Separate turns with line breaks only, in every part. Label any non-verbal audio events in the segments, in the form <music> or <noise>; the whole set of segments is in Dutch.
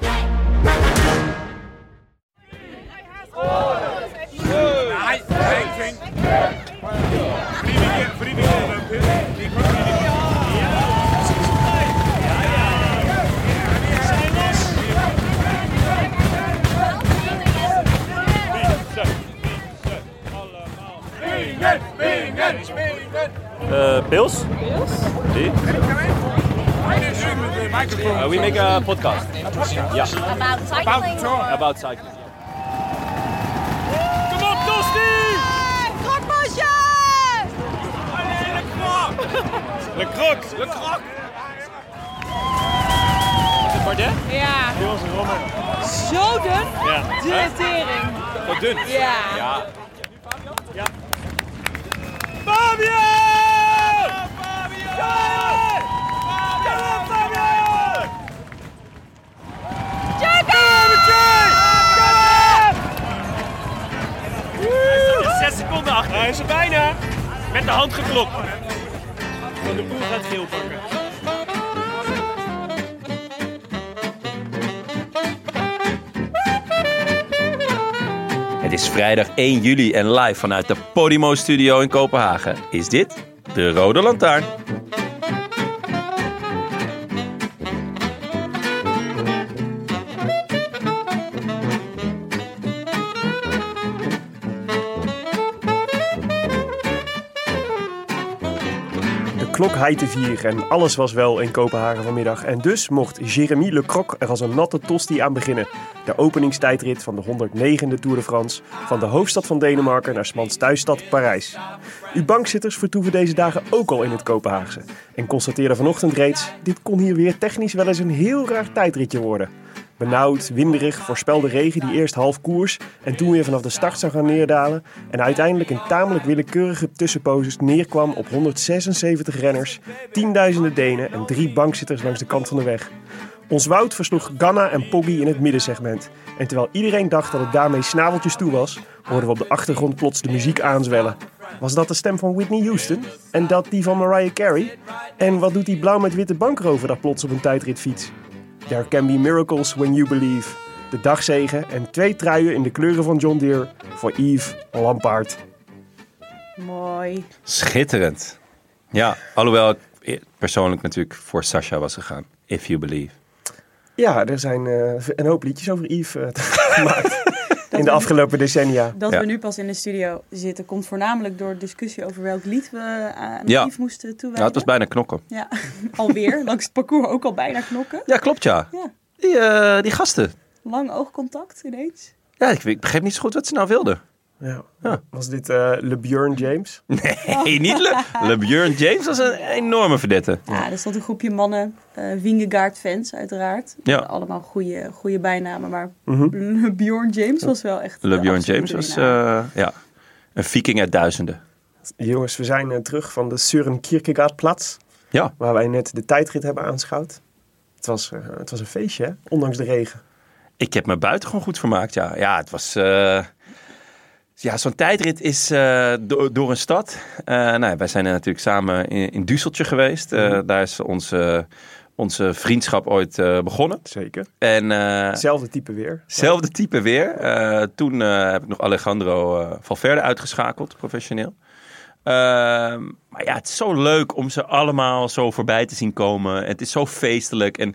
Nej, nej, tänk. Frivillig, frivillig, frivillig. Vingen, vingen, vingen!
Uh, pills? See? Uh, we make a podcast. Yeah,
about cycling.
about cycling.
Kom op, Tosti!
Krokbosjes!
Allez, le croc! Le croc! Le croc!
Pardon?
Ja, zo dun. De tering.
Wat dun.
Ja.
Ja.
Fabian! Fabian! Kom op, Fabian! Zes seconden achter. Hij is er bijna. Met de hand geklopt. Van de boer gaat geel pakken.
Het is vrijdag 1 juli en live vanuit de Podimo Studio in Kopenhagen is dit de Rode Lantaarn.
De klok hijte vier en alles was wel in Kopenhagen vanmiddag. En dus mocht Jeremy Le Croc er als een natte tosti aan beginnen. De openingstijdrit van de 109e Tour de France. Van de hoofdstad van Denemarken naar Smans thuisstad Parijs. Uw bankzitters vertoeven deze dagen ook al in het Kopenhaagse. En constateerden vanochtend reeds, dit kon hier weer technisch wel eens een heel raar tijdritje worden. Benauwd, winderig, voorspelde regen die eerst half koers en toen weer vanaf de start zou gaan neerdalen. En uiteindelijk in tamelijk willekeurige tussenposes neerkwam op 176 renners, tienduizenden Denen en drie bankzitters langs de kant van de weg. Ons Wout versloeg Ganna en Poggi in het middensegment. En terwijl iedereen dacht dat het daarmee snaveltjes toe was, hoorden we op de achtergrond plots de muziek aanzwellen. Was dat de stem van Whitney Houston? En dat die van Mariah Carey? En wat doet die blauw met witte bankrover daar plots op een tijdritfiets? There can be miracles when you believe. De dagzegen en twee truien in de kleuren van John Deere voor Yves Lampaard.
Mooi.
Schitterend. Ja, alhoewel ik persoonlijk natuurlijk voor Sasha was gegaan. If you believe.
Ja, er zijn eh, een hoop liedjes over Yves eh, <laughs> gemaakt in de afgelopen decennia.
Dat
Ja.
we nu pas in de studio zitten komt voornamelijk door discussie over welk lied we eh, aan
Ja.
Yves moesten
Ja, het
toewijden.
was bijna knokken.
Ja, <laughs> alweer. Langs het parcours ook al bijna knokken.
Ja, klopt ja.
Ja.
Die, eh, die gasten.
Lang oogcontact ineens.
Ja, ik, ik begreep niet zo goed wat ze nou <laughs> wilden.
Ja. Was dit eh LeBjörn James?
Hey, niet Le, LeBjörn James was een enorme verdette.
Ja, er stond een groepje mannen, eh Wingegaard fans uiteraard.
Ja.
Allemaal goede, goede bijnamen, maar <laughs> Bjorn James was wel echt... de
LeBjörn
absolute
James was
winnaar.
eh, ja, een viking uit duizenden.
Jongens, we zijn eh, terug van de Søren Kierkegaardplatz,
Ja,
waar wij net de tijdrit hebben aanschouwd. Het was, eh, het was een feestje, hè? ondanks de regen.
ik heb me buitengewoon goed vermaakt. Ja, ja het was. eh, ja, zo'n tijdrit is eh, do- door een stad. Eh, nou, ja, wij zijn er natuurlijk samen in, in Düsseltje geweest. Eh, Daar is onze, onze vriendschap ooit eh, begonnen.
Zeker.
En eh,
Hetzelfde type weer.
Zelfde type weer. Eh, toen eh, heb ik nog Alejandro eh, Valverde uitgeschakeld, professioneel. Ehm, maar ja, het is zo leuk om ze allemaal zo voorbij te zien komen. Het is zo feestelijk. En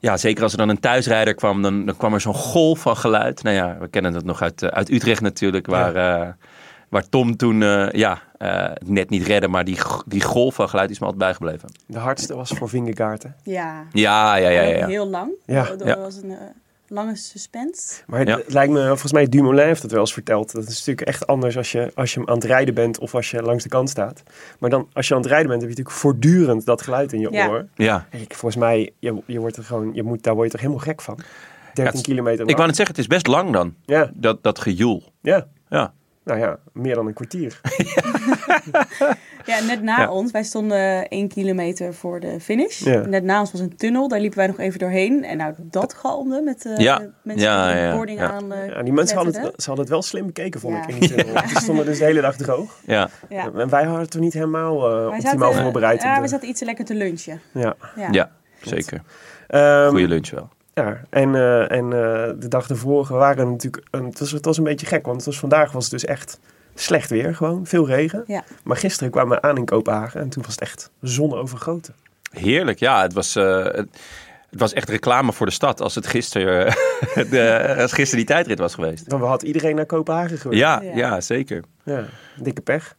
ja, zeker als er dan een thuisrijder kwam, dan, dan kwam er zo'n golf van geluid. Nou ja, we kennen dat nog uit, eh, uit Utrecht natuurlijk, waar, eh, waar Tom toen eh, ja, eh, het net niet redde. Maar die, g- die golf van geluid is me altijd bijgebleven.
De hardste was voor Vingegaard, hè?
Ja,
Ja, ja, eh, ja, ja. ja.
heel lang.
Ja.
Dat
Ja.
was een eh, lange suspense.
Maar het
Ja.
het lijkt me, volgens mij Dumoulin heeft dat wel eens verteld. Dat is natuurlijk echt anders als je, als je hem aan het rijden bent of als je langs de kant staat. Maar dan, als je aan het rijden bent, heb je natuurlijk voortdurend dat geluid in je
Ja.
oor.
ja.
Ik, volgens mij, je, je wordt er gewoon, je moet, daar word je toch helemaal gek van? 13
het-
kilometer lang.
Ik wou net zeggen, het is best lang dan,
Ja,
dat, dat gejoel.
ja.
Ja.
Nou ja, meer dan een kwartier.
Ja, net na
Ja.
ons, wij stonden één kilometer voor de finish.
Ja.
Net na ons was een tunnel, daar liepen wij nog even doorheen. En nou, dat galmde met eh,
Ja.
de mensen
Ja,
die
ja,
de
ja.
boarding
Ja.
aan. eh,
Ja, die mensen hadden
letten.
het, ze hadden het wel slim bekeken, vond
Ja.
ik. In die tunnel. Ze stonden dus de hele dag droog.
Ja,
Ja.
En wij hadden het er niet helemaal eh,
Wij
optimaal
zaten,
voorbereid.
ja,
op
we
de-
zaten iets te lekker te lunchen.
ja.
Ja.
ja, zeker.
Ehm,
Goede lunch wel.
Ja, en, eh, en eh, de dag ervoor waren we natuurlijk. een- het, was, het was een beetje gek, want het was, vandaag was het dus echt slecht weer, gewoon veel regen.
Ja.
Maar gisteren kwamen we aan in Kopenhagen en toen was het echt zonovergoten.
Heerlijk, ja. Het was, eh, het, het was echt reclame voor de stad als het gisteren, <laughs> de, als gisteren die tijdrit was geweest.
Dan had iedereen naar Kopenhagen geweest.
Ja,
Ja.
ja. zeker.
Ja, dikke pech.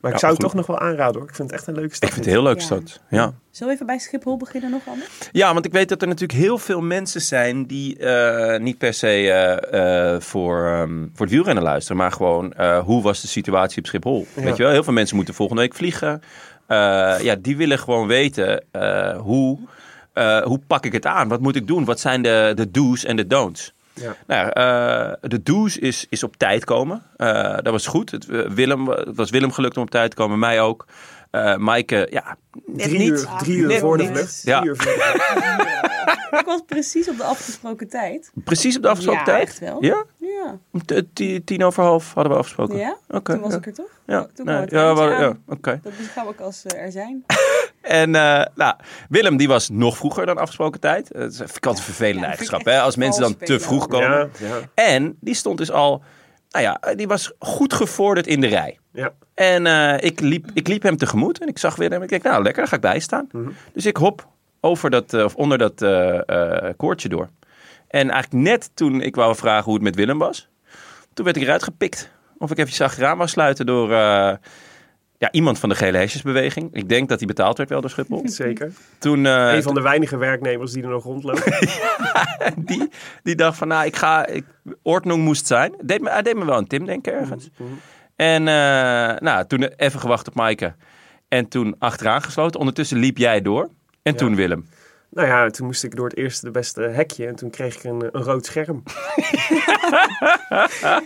Maar ik
Ja,
zou het
goed.
toch nog wel aanraden hoor. Ik vind het echt een leuke stad.
Ik vind het heel leuk
Ja.
stad. Ja.
Zullen we even bij Schiphol beginnen nog, anders?
ja, want ik weet dat er natuurlijk heel veel mensen zijn die eh, niet per se eh, eh, voor, ehm, voor het wielrennen luisteren, maar gewoon eh, hoe was de situatie op Schiphol?
Ja.
Weet je wel, heel veel mensen moeten volgende week vliegen. Eh, ja, die willen gewoon weten eh, hoe, eh, hoe pak ik het aan? Wat moet ik doen? Wat zijn de, de do's en de don'ts?
Ja.
Nou, ja, eh, de do's is, is op tijd komen. Eh, dat was goed. Het, eh, Willem, het was Willem gelukt om op tijd te komen, mij ook. Eh Maaike, ja, net
Drie
niet.
uur, drie uur
Net
voor de
niet.
vlucht.
Ja.
Drie uur voor de vlucht.
<laughs> Ik was precies op de afgesproken tijd.
Precies op de afgesproken
Ja,
tijd?
echt wel.
Ja?
Ja,
Om t- ti- tien over half hadden we afgesproken.
ja?
Oké,
toen was
ja.
ik er toch?
Ja, nee,
toen kwam het
ja, we
eindje
hadden- ja,
aan.
oké.
Dat beschouw ik als eh, er zijn.
En eh, nou, Willem die was nog vroeger dan afgesproken tijd. Eh, Dat is vind ik altijd een vervelende
Ja, vind ik <laughs>
eigenschap.
echt
Hè? Als mensen dan
vals
te
spelen.
vroeg komen.
Ja, ja,
En die stond dus al, nou ja, die was goed gevorderd in de rij.
ja.
En eh, ik, liep, ik liep hem tegemoet en ik zag weer hem. Ik dacht, nou lekker, daar ga ik bij staan.
Mhm.
Dus ik hop over dat, eh, of onder dat eh, eh, koordje door. En eigenlijk net toen ik wou vragen hoe het met Willem was, toen werd ik eruit gepikt. Of ik even zag raam wou sluiten door eh, ja, iemand van de gele hesjesbeweging. Ik denk dat hij betaald werd wel door
<laughs>
Schiphol.
zeker.
Toen, eh,
een van de weinige werknemers die er nog rondloopt.
die, die dacht van, nou, ik ga... Ik, ordnung moest zijn. Deed me, hij deed me wel een Tim denken ergens.
Mhm,
En eh, nou, toen even gewacht op Maaike. En toen achteraan gesloten. Ondertussen liep jij door. En toen Willem.
nou ja, toen moest ik door het eerste de beste hekje en toen kreeg ik een, een
<laughs>
rood scherm.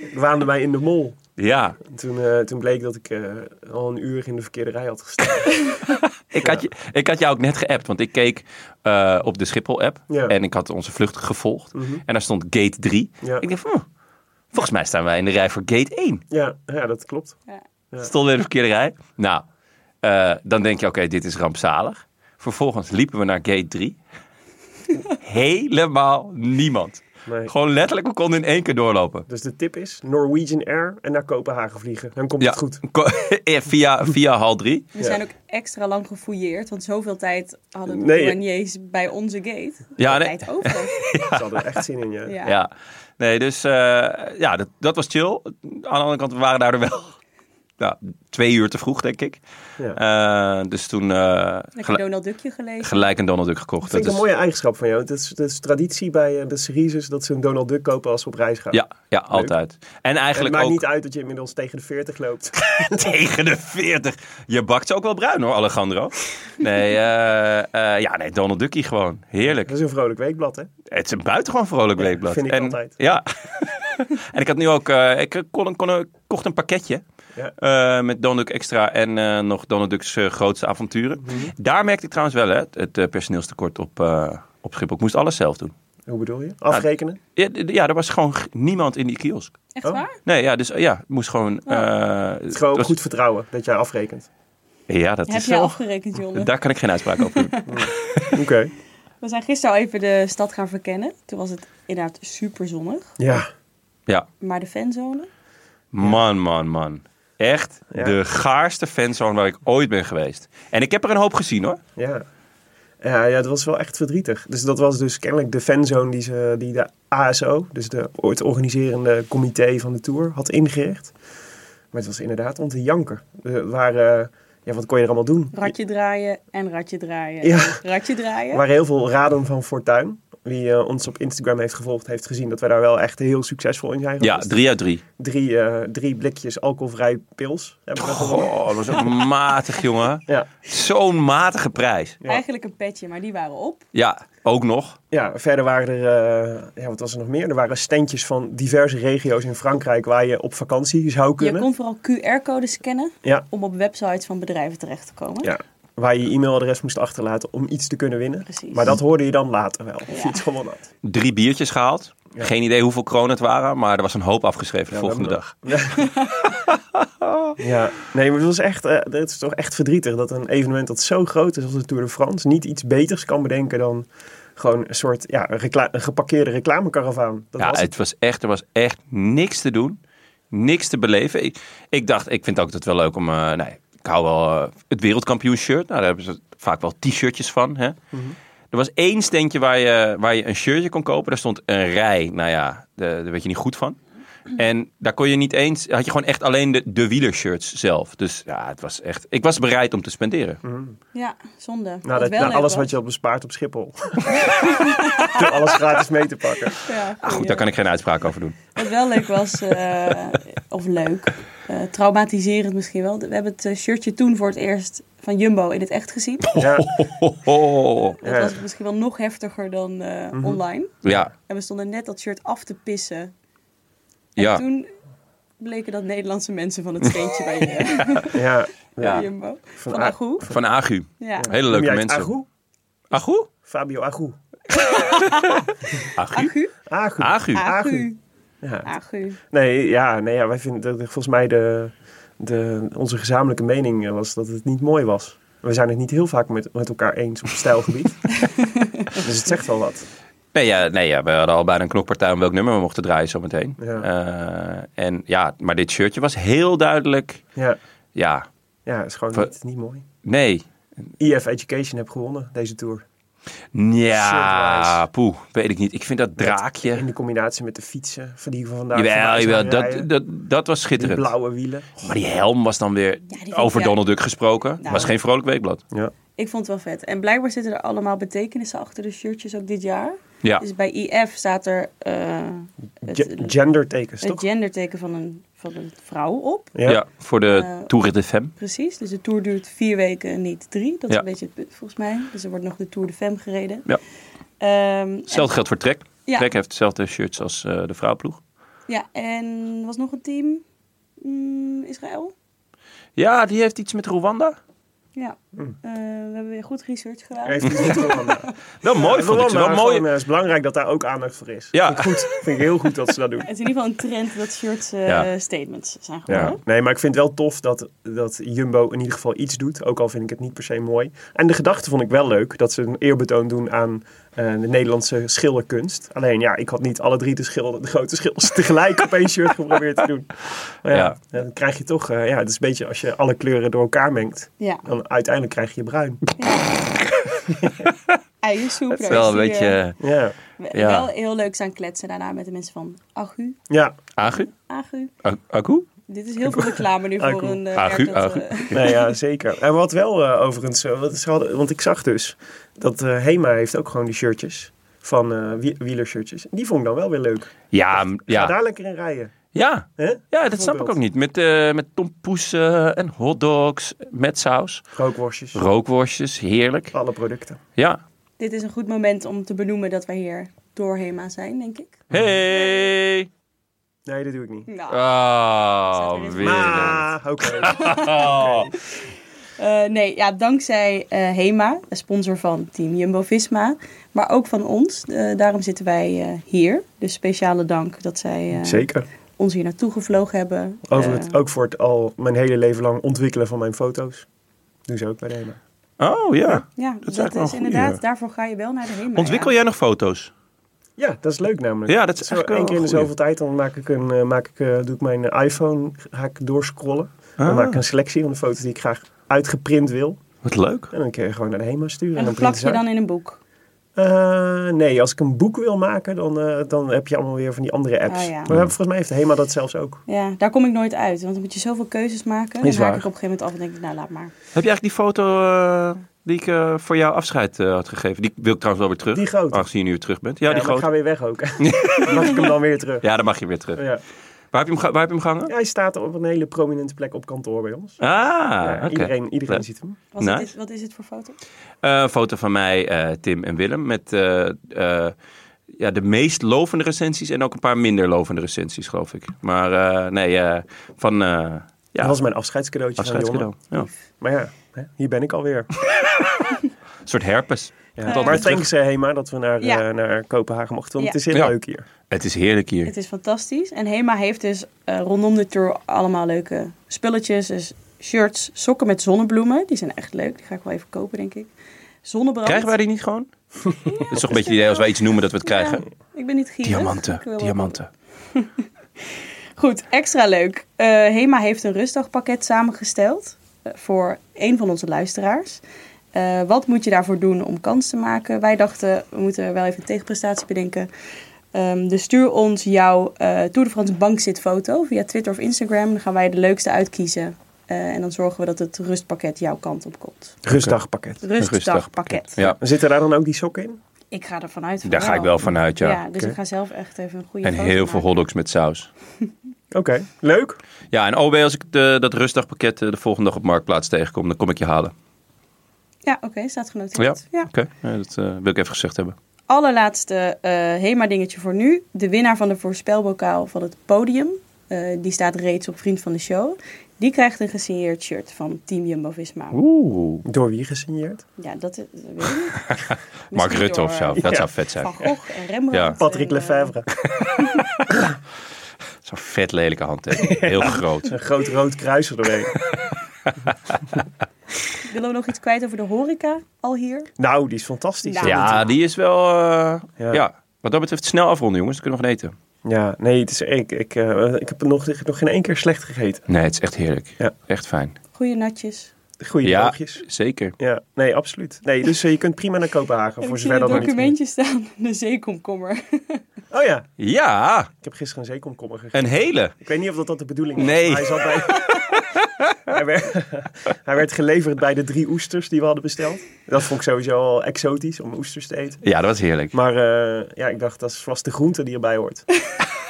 ik waande mij in de mol.
Ja,
En Toen, eh, toen bleek dat ik eh, al een uur in de verkeerde rij had gestaan.
ik had, je, ik had jou ook net geappt. Want ik keek eh, op de Schiphol-app.
Ja. Mhm.
En ik had onze vlucht gevolgd. En daar stond gate 3.
Ja.
Ik dacht van, "Hm, volgens mij staan wij in de rij voor gate 1.
ja, ja, dat klopt.
Stonden in de verkeerde rij. Nou, eh, dan denk je, oké, dit is rampzalig. Vervolgens liepen we naar gate 3. <laughs> Helemaal niemand.
Nee.
Gewoon letterlijk, we konden in één keer doorlopen.
Dus de tip is Norwegian Air en naar Kopenhagen vliegen. Dan komt het goed.
ko- <laughs> ja, via, via hal 3.
We zijn ook extra lang gefouilleerd, want zoveel tijd hadden de
Nee.
douaniers bij onze gate.
Ja, nee.
Tijd
<laughs>
over.
Ze hadden er echt zin in, ja.
Ja.
Ja. Nee, dus eh, ja, dat, dat was chill. Aan de andere kant, we waren daardoor wel <laughs> nou, twee uur te vroeg, denk ik.
Ja.
Eh, dus toen eh,
Lekker
gel-
Donald Duckje gelezen.
gelijk een Donald Duck gekocht.
Dat vind ik
is-
een mooie eigenschap van jou. Het is, het is traditie bij eh, de Syriërs dat ze een Donald Duck kopen als ze op reis gaan.
ja, ja, altijd. En
En het
eigenlijk
maakt
ook...
niet uit dat je inmiddels tegen de 40 loopt. <laughs>
<laughs> Tegen de 40. Je bakt ze ook wel bruin hoor, Alejandro. Nee, eh, eh, ja, nee, Donald Duckie gewoon. Heerlijk.
Dat is een vrolijk weekblad, hè?
Het is een buitengewoon vrolijk weekblad.
vind ik
en,
altijd.
Ja. <laughs> en ik had nu ook, eh, ik kon, kon, kocht een pakketje.
Ja.
eh, met Donald Duck Extra en eh, nog Donald Duck's eh, grootste avonturen.
Mhm.
Daar merkte ik trouwens wel hè, het, het, eh, personeelstekort op, eh op Schiphol. Ik moest alles zelf doen.
Hoe bedoel je? Afrekenen?
Ja, d- ja, er was gewoon g- niemand in die kiosk.
Echt
Oh.
waar?
Nee, ja, dus eh, ja, het moest gewoon... eh, het
Gewoon
was-
goed vertrouwen dat jij afrekent.
Ja, dat
Heb
is
jij
wel...
<laughs>
afgerekend, Jonne?
Daar kan ik geen uitspraak over doen.
Oké.
We zijn gisteren al even de stad gaan verkennen. Toen was het inderdaad super zonnig.
Ja.
Ja,
Maar de fanzone?
man, man, man. Echt
Ja.
de gaarste fanzone waar ik ooit ben geweest. En ik heb er een hoop gezien hoor.
Ja. Ja, ja, dat was wel echt verdrietig. Dus dat was dus kennelijk de fanzone die, ze, die de ASO, dus de, het organiserende comité van de Tour, had ingericht. Maar het was inderdaad om te janken. Er waren, ja, wat kon je er allemaal doen?
Radje draaien en radje draaien.
Ja.
en Radje draaien.
Er waren heel veel raden van fortuin. Wie eh, ons op Instagram heeft gevolgd, heeft gezien dat wij daar wel echt heel succesvol in zijn
Ja,
geweest.
drie uit drie.
Drie, eh, drie blikjes alcoholvrij pils hebben
Oh.
we gewonnen.
Goh, dat was <laughs> ook matig, jongen.
Ja.
Zo'n matige prijs.
Ja.
Eigenlijk een petje, maar die waren op.
Ja, ook nog.
ja, verder waren er, eh, ja, wat was er nog meer? Er waren standjes van diverse regio's in Frankrijk waar je op vakantie zou
Je
kunnen.
kon vooral QR-codes scannen
Ja,
om op websites van bedrijven terecht te komen.
ja. Waar je je e-mailadres moest achterlaten om iets te kunnen winnen.
Precies.
Maar dat hoorde je dan later wel, of je
Ja.
iets gewonnen had.
Drie biertjes gehaald. Geen idee hoeveel kronen het waren, maar er was een hoop afgeschreven de
Ja,
volgende
we
dag.
<laughs> Ja, nee, maar het, was echt, eh, het is toch echt verdrietig dat een evenement dat zo groot is als de Tour de France niet iets beters kan bedenken dan gewoon een soort ja, een, recla- een geparkeerde reclamekaravaan. Dat
Ja,
was het.
het was echt, er was echt niks te doen. Niks te beleven. Ik, ik dacht, ik vind ook dat wel leuk om... eh, nee, ik hou wel eh, het wereldkampioenshirt. Nou, daar hebben ze vaak wel t-shirtjes van. Hè?
Mhm.
Er was één standje waar je, waar je een shirtje kon kopen. Daar stond een rij. Nou ja, de- daar weet je niet goed van. En daar kon je niet eens... Had je gewoon echt alleen de, de wielershirts zelf. Dus ja, het was echt... Ik was bereid om te spenderen.
Mhm.
Ja, zonde.
Na,
Wat
Nou, dat,
wel
na
leuk
alles
was.
wat je had bespaard op Schiphol. <laughs> Door alles gratis mee te pakken.
Ja,
Ah, goed, daar kan ik geen uitspraak over doen.
Wat wel leuk
<laughs>
was, eh, of leuk, eh, traumatiserend misschien wel. We hebben het eh, shirtje toen voor het eerst van Jumbo in het echt gezien.
Oh.
Ja,
Ho, ho.
Dat
Ja. Mhm.
was misschien wel nog heftiger dan eh, online.
Ja,
En we stonden net dat shirt af te pissen. En
ja.
toen bleken dat Nederlandse mensen van het steentje bij eh,
<laughs> ja.
Ja.
Jumbo. Van,
A-
Agoe.
Van Agu.
Ja.
Hele
Kom
leuke
jij uit
mensen.
Agu?
Agu?
Fabio Agu.
Agu?
Agu.
Agu.
Agu.
Agu.
Ja.
Agu.
Nee, ja, nee, ja, wij vinden, dat- volgens mij de, de, onze gezamenlijke mening eh, was dat het niet mooi was. We zijn het niet heel vaak met, met elkaar eens op stijlgebied.
<laughs>
dus het zegt wel wat.
Nee, ja, nee ja, we hadden al bijna een knokpartij om welk nummer we mochten draaien zometeen.
Ja.
Eh, en ja, maar dit shirtje was heel duidelijk.
Ja,
Ja,
ja is gewoon
Wa-
niet, niet mooi.
nee.
EF Education heb gewonnen deze tour.
Ja,
Shirtwise.
poeh, weet ik niet. Ik vind dat draakje.
In de combinatie met de fietsen van die van vandaag.
Jawel,
vandaag
jawel,
zijn rijden.
dat, dat, dat was
die
schitterend.
blauwe wielen.
Maar die helm was dan weer
die vind ik
over
wel-
Donald Duck gesproken.
Nou.
Was geen vrolijk weekblad.
Ja.
Ik vond het wel vet. En blijkbaar zitten er allemaal betekenissen achter de shirtjes ook dit jaar.
Ja,
Dus bij IF staat er eh, het,
Ge- gendertekens,
het
toch?
genderteken van een, van een vrouw op.
ja. voor de
Eh,
Tour de Femme.
Precies. Dus de tour duurt vier weken en niet drie. Dat is
Ja.
een beetje het punt volgens mij. Dus er wordt nog de Tour de Femme gereden.
Ja.
Ehm,
Hetzelfde geldt voor Trek.
Ja.
Trek heeft hetzelfde shirts als eh, de vrouwploeg.
en, ja, en was nog een team? Mm, Israël?
Ja, die heeft iets met Rwanda.
Ja. Eh, we hebben weer goed research gedaan.
Hm. Even iets met
<laughs>
Rwanda.
Wel mooi, vond ik ze. Wel
Rwanda,
mooi.
gewoon, eh, Het is belangrijk dat daar ook aandacht voor is.
Ja.
Vind ik goed. Vind ik heel goed dat ze
<laughs>
dat doen.
Het is in ieder geval een trend dat shirts eh,
Ja.
statements zijn geworden.
Ja. Nee, maar ik vind het wel tof dat, dat Jumbo in ieder geval iets doet. Ook al vind ik het niet per se mooi. En de gedachte vond ik wel leuk. Dat ze een eerbetoon doen aan eh, de Nederlandse schilderkunst. Alleen ja, ik had niet alle drie de, schilder, de grote schilders <laughs> tegelijk op één shirt geprobeerd te doen. Maar ja,
Ja.
ja, dan krijg je toch... eh, ja, het is een beetje als je alle kleuren door elkaar mengt.
Ja.
Dan uiteindelijk krijg
<laughs>
je bruin.
Eiersoep.
Het is
daar
wel een
die, eh,
beetje...
Ja.
we-
ja.
Wel heel leuk zijn kletsen daarna met de mensen van Agu.
Ja,
eh, Agu?
Agu.
A- Agu?
Dit is heel veel reclame nu
Agu.
voor een eh,
Agu,
merk dat,
Agu.
<laughs> eh,
nee, ja, zeker. En wat wel eh, overigens, eh, wat ze hadden, want ik zag dus dat eh, Hema heeft ook gewoon die shirtjes van eh, wie- wielershirtjes. Die vond ik dan wel weer leuk.
Ja, m-
Ga
ja.
daar lekker in rijden.
Ja.
Hè?
ja, dat snap ik ook niet. Met, eh met tompoesen en hotdogs met saus.
Rookworstjes.
Rookworstjes, heerlijk.
Alle producten.
Ja.
Dit is een goed moment om te benoemen dat wij hier door HEMA zijn, denk ik.
Hey!
Nee, dat doe ik niet.
Nou,
Oh,
Zet er
weer.
Maar, oké.
<laughs>
eh, nee, ja, dankzij eh, HEMA, een sponsor van Team Jumbo-Visma, maar ook van ons. Eh, daarom zitten wij eh, hier. Dus speciale dank dat zij eh,
Zeker. Oh,
ons hier naartoe gevlogen hebben.
Over
Eh,
het, ook voor het al mijn hele leven lang ontwikkelen van mijn foto's. Doen ze ook bij de HEMA.
Oh ja.
ja,
is
dat,
eigenlijk wel
is
een goeie.
inderdaad, daarvoor ga je wel naar de HEMA.
Ontwikkel
ja.
jij nog foto's?
Ja, dat is leuk namelijk.
Ja, dat is
Zo
eigenlijk wel
één keer in de
een goeie.
zoveel tijd, dan maak ik een, eh, maak ik, eh, doe ik mijn eh, iPhone, ga ik doorscrollen. Dan
Ah.
maak ik een selectie van de foto's die ik graag uitgeprint wil.
Wat leuk.
En dan kun je gewoon naar de HEMA sturen.
En dat plak
print
je dan in een boek.
Eh, nee, als ik een boek wil maken, dan, eh, dan heb je allemaal weer van die andere apps.
Ah, ja.
Maar we hebben- volgens mij heeft de HEMA dat zelfs ook.
Ja, daar kom ik nooit uit, want dan moet je zoveel keuzes maken. Dan
Is
haak
waar.
ik op een gegeven moment af en denk ik, nou laat maar.
Heb je eigenlijk die foto eh, die ik eh, voor jou afscheid eh, had gegeven. Die wil ik trouwens wel weer terug.
Die grote?
Aangezien je nu weer terug bent. Ja,
Ja,
die
maar ik
grote.
ga weer weg
<laughs>
ook. <laughs> Mag ik hem dan weer terug?
Ja, dan mag je weer terug.
Ja.
Waar, heb je hem, ge- waar heb je hem gehangen?
Ja, hij staat op een hele prominente plek op kantoor bij ons.
Ah,
Ja,
oké.
Iedereen, iedereen
Leuk.
ziet hem.
Wat,
Nice.
is, dit- wat is het voor foto?
Eh, een foto van mij, eh, Tim en Willem. Met eh, eh, ja, de meest lovende recensies. En ook een paar minder lovende recensies, geloof ik. Maar eh, nee, eh, van... eh
Dat
ja,
was mijn afscheidscadeautje van
afscheidscadeau.
Jonne.
Ja.
Maar ja, hè, hier ben ik alweer.
Een soort herpes. Komt altijd
Maar
weer terug.
thanks eh, Hema dat we naar,
Ja.
eh, naar Kopenhagen mochten. Want
Ja.
het is heel
Ja.
leuk hier.
Het is heerlijk hier.
Het is fantastisch. En Hema heeft dus eh, rondom de tour allemaal leuke spulletjes. Dus shirts, sokken met zonnebloemen. Die zijn echt leuk. Die ga ik wel even kopen, denk ik. Zonnebrand.
Krijgen wij die niet
<laughs>
gewoon? dat is toch een beetje het idee als wij iets noemen dat we het krijgen.
Ja, ik ben niet gierig. Ik wil
Diamanten,
wel-
diamanten.
Goed, extra leuk. Eh, Hema heeft een rustdagpakket samengesteld eh, voor een van onze luisteraars. Eh, wat moet je daarvoor doen om kans te maken? Wij dachten, we moeten wel even een tegenprestatie bedenken. Ehm, dus stuur ons jouw eh Tour de France bankzitfoto via Twitter of Instagram. Dan gaan wij de leukste uitkiezen. Eh, en dan zorgen we dat het rustpakket jouw kant op komt.
Rustdagpakket.
Rustdagpakket.
Ja,
Zitten daar dan ook die sokken in?
Ik ga er vanuit. van
daar ga ik wel vanuit,
Ja,
ja.
dus ik ga zelf echt even een goede
En
foto
heel veel
maken.
hotdogs met saus.
Oké, leuk.
Ja, en OB, als ik de, dat rustdagpakket eh, de volgende dag op Marktplaats tegenkom, dan kom ik je halen.
Ja, oké, staat
Ja,
genoteerd.
oké. Ja, dat eh, wil ik even gezegd hebben.
allerlaatste eh, Hema-dingetje voor nu. De winnaar van de voorspelbokaal van het podium. eh, die staat reeds op Vriend van de Show. Die krijgt een gesigneerd shirt van Team Jumbo-Visma.
Oeh.
Door wie gesigneerd?
Ja, dat, eh, dat weet ik niet.
Mark
Misschien
Rutte
door,
of zo.
eh,
Dat
Ja.
<laughs> zou vet zijn.
Van Gogh en Rembrandt.
Ja.
Patrick
en, eh,
Lefevre. <laughs>
Zo'n vet lelijke
<laughs>
handtekening. Heel groot.
Een groot rood
<laughs>
kruis erdoorheen.
willen we nog iets kwijt over de horeca al hier?
nou, die is fantastisch.
Nou.
Ja, die is wel... eh,
Ja.
ja. wat dat betreft snel afronden, jongens. Dan kunnen we nog gaan eten.
Ja, nee, het is, ik, ik, eh, ik heb nog, ik heb nog geen één keer slecht gegeten.
Nee, het is echt heerlijk.
Ja.
Echt fijn.
Goeie natjes.
Goede
ja,
oogjes.
zeker.
Ja, nee, absoluut. Nee, dus eh, je kunt prima naar Kopenhagen,
Heb
voor
ik zie in
zover dat
het
nog niet...
documentje staan. <laughs> De zeekomkommer.
Oh ja,
Ja,
ik heb gisteren een zeekomkommer gegeten.
een hele.
Ik weet niet of dat, dat de bedoeling was.
Nee.
maar Hij, zat
<laughs>
bij... hij, werd, hij werd geleverd bij de drie oesters die we hadden besteld. Dat vond ik sowieso al exotisch, om oesters te eten.
Ja, dat was heerlijk.
Maar eh, ja, ik dacht, dat is vast de groente die erbij
<laughs>
hoort.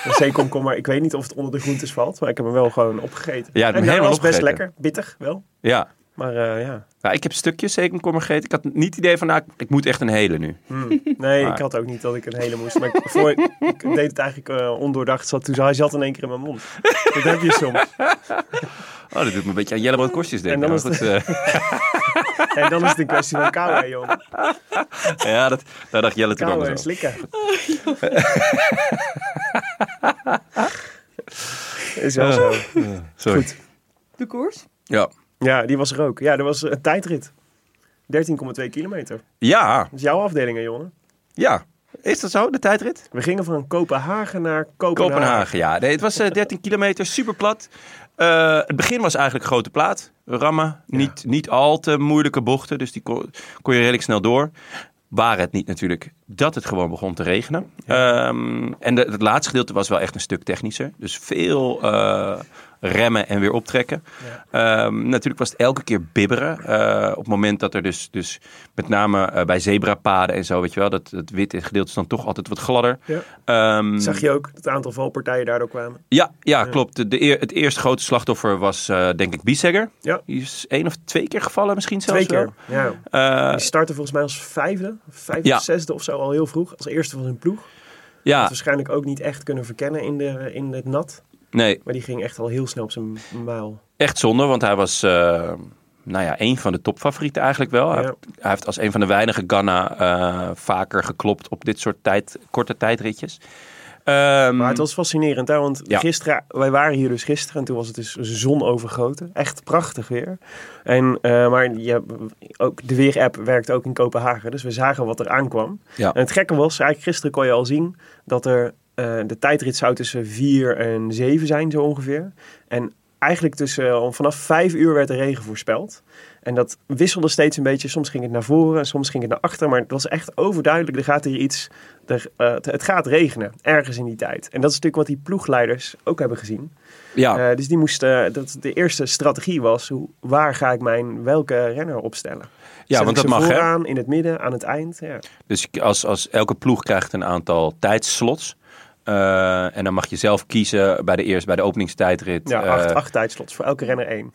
Een zeekomkommer, ik weet niet of het onder de groentes valt, maar ik heb hem wel gewoon opgegeten.
Ja, ik heb hem
en eh,
helemaal
was best
opgegeten.
lekker, bittig wel.
Ja.
Maar eh, ja,
Nou, ik heb stukjes zeekomkommer gegeten. Ik had niet het idee van, nou, ik- ik moet echt een hele nu.
nee,
Maar-
ik had ook niet dat ik een hele moest. Maar ik, voor, ik deed het eigenlijk eh, ondoordacht, zat, toen hij zat in één keer in mijn mond. Dat heb je soms.
Oh, dat doet me een beetje aan Jellebrood Kostjes denken.
En dan
Maar
is
goed, eh,
En dan is het een kwestie van kou, hè, jongen.
eh, <laughs> ja, dat, daar dacht Jelle toen
Kou
anders
en
over. <laughs>
slikken. Is wel zo.
Ah. Sorry.
De koers?
Ja.
Ja, die was er ook. Ja, dat was een tijdrit. 13,2 kilometer.
ja,
Dat is jouw afdeling, hè, jongen.
ja. Is dat zo, de tijdrit?
We gingen van Kopenhagen naar Kopenhagen.
Kopenhagen, ja. Nee, het was eh, 13 kilometer, super plat. het begin was eigenlijk grote plaat. Rammen, niet, niet al te moeilijke bochten, dus die kon, kon je redelijk snel door. Waar het niet natuurlijk dat het gewoon begon te regenen. Ehm, en de, het laatste gedeelte was wel echt een stuk technischer. Dus veel eh, remmen en weer optrekken. Ehm, natuurlijk was het elke keer bibberen. Eh, op het moment dat er dus, dus met name eh, bij zebrapaden en zo, weet je wel, dat, dat witte gedeelte is dan toch altijd wat gladder.
Ja.
Ehm,
Zag je ook dat het aantal valpartijen daardoor kwamen?
ja, ja, klopt. De, de eer- het eerste grote slachtoffer was eh, denk ik Biesegger.
Ja.
Die is één of twee keer gevallen misschien zelfs
Twee keer.
wel.
Ja.
Eh,
Die startte volgens mij als vijfde, vijfde
Ja.
of zesde of zo al heel vroeg. Als eerste van hun ploeg.
ja,
Had waarschijnlijk ook niet echt kunnen verkennen in, de, in het nat.
nee,
Maar die ging echt al heel snel op zijn muil.
echt zonde, want hij was eh, nou ja, een van de topfavorieten eigenlijk wel. Hij,
Ja.
heeft, hij heeft als een van de weinige Ghana eh, vaker geklopt op dit soort tijd, korte tijdritjes. Ehm,
Maar het was fascinerend, hè? want
Ja.
gisteren, wij waren hier dus gisteren en toen was het dus zon overgoten. Echt prachtig weer. En, eh, maar je, ook de weerapp werkt ook in Kopenhagen, dus we zagen wat er aankwam.
Ja.
En het gekke was, eigenlijk gisteren kon je al zien dat er, eh, de tijdrit zou tussen 4 en 7 zijn zo ongeveer. En eigenlijk tussen, om vanaf vijf uur werd de regen voorspeld. En dat wisselde steeds een beetje. Soms ging het naar voren en soms ging het naar achter. Maar het was echt overduidelijk, er gaat hier iets, er, eh, het- het gaat regenen. Ergens in die tijd. En dat is natuurlijk wat die ploegleiders ook hebben gezien.
Ja,
Eh, dus die moesten, dat de eerste strategie was, hoe, waar ga ik mijn, welke renner opstellen?
ja
Zet
want
ik
dat
ze
mag hè.
vooraan, in het midden, aan het eind. Ja.
Dus als, als elke ploeg krijgt een aantal tijdslots. eh, en dan mag je zelf kiezen bij de eerste, bij de openingstijdrit.
Ja,
eh,
acht, acht tijdslots voor elke renner één.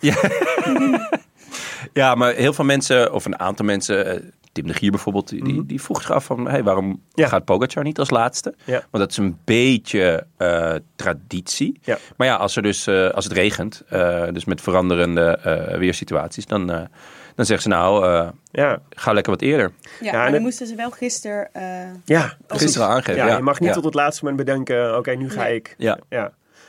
ja, maar heel veel mensen, of een aantal mensen, eh, Tim de Gier bijvoorbeeld, die, die, die vroeg zich af van, hey, waarom
Mhm. Ja.
gaat Pogacar niet als laatste?
Ja.
Want dat is een beetje eh, traditie.
Ja.
Maar ja, als, er dus, eh, als het regent, eh, dus met veranderende eh, weersituaties, dan, eh, dan zeggen ze nou, eh,
Ja,
ga lekker wat eerder.
Ja,
en
maar dan
het-
moesten ze wel gisteren... eh,
ja precies.
Gisteren aangeven.
Ja,
Ja,
je mag niet
Ja.
tot het laatste moment bedenken, oké, nu ga
Nee.
ik.
Ja.
Ja.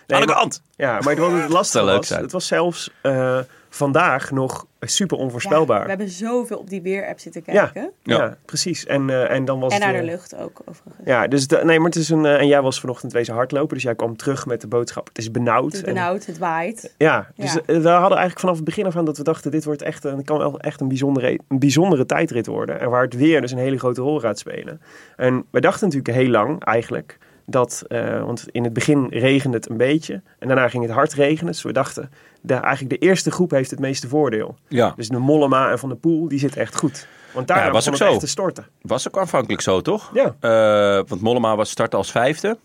Nee,
Aan de
maar-
kant!
Ja, maar wat
<laughs>
het lastige
Zou leuk
was,
zijn.
het was zelfs eh, vandaag nog super
Ja,
onvoorspelbaar.
we
Ja,
hebben zoveel op die weerapp zitten kijken.
Ja.
ja, precies. En, eh, en dan was
En
het,
naar de
eh,
lucht ook, overigens.
Ja, dus de- nee, maar het is een. eh, en jij was vanochtend wezen hardlopen, dus jij kwam terug met de boodschap. Het is benauwd.
Het is
En-
benauwd, het waait.
ja, dus
Ja.
eh, we hadden eigenlijk vanaf het begin af aan dat we dachten: dit wordt echt een, kan wel echt een bijzondere, een bijzondere tijdrit worden. En waar het weer dus een hele grote rol gaat spelen. En we dachten natuurlijk heel lang eigenlijk dat, eh, want in het begin regende het een beetje en daarna ging het hard regenen. Dus we dachten: de, eigenlijk de eerste groep heeft het meeste voordeel.
Ja.
Dus de Mollema en Van de Poel, die zit echt goed. Want daarna
Ja, was
begon
ook
het
zo.
echt te storten.
Was ook aanvankelijk zo, toch?
Ja.
Eh, want Mollema was start als vijfde.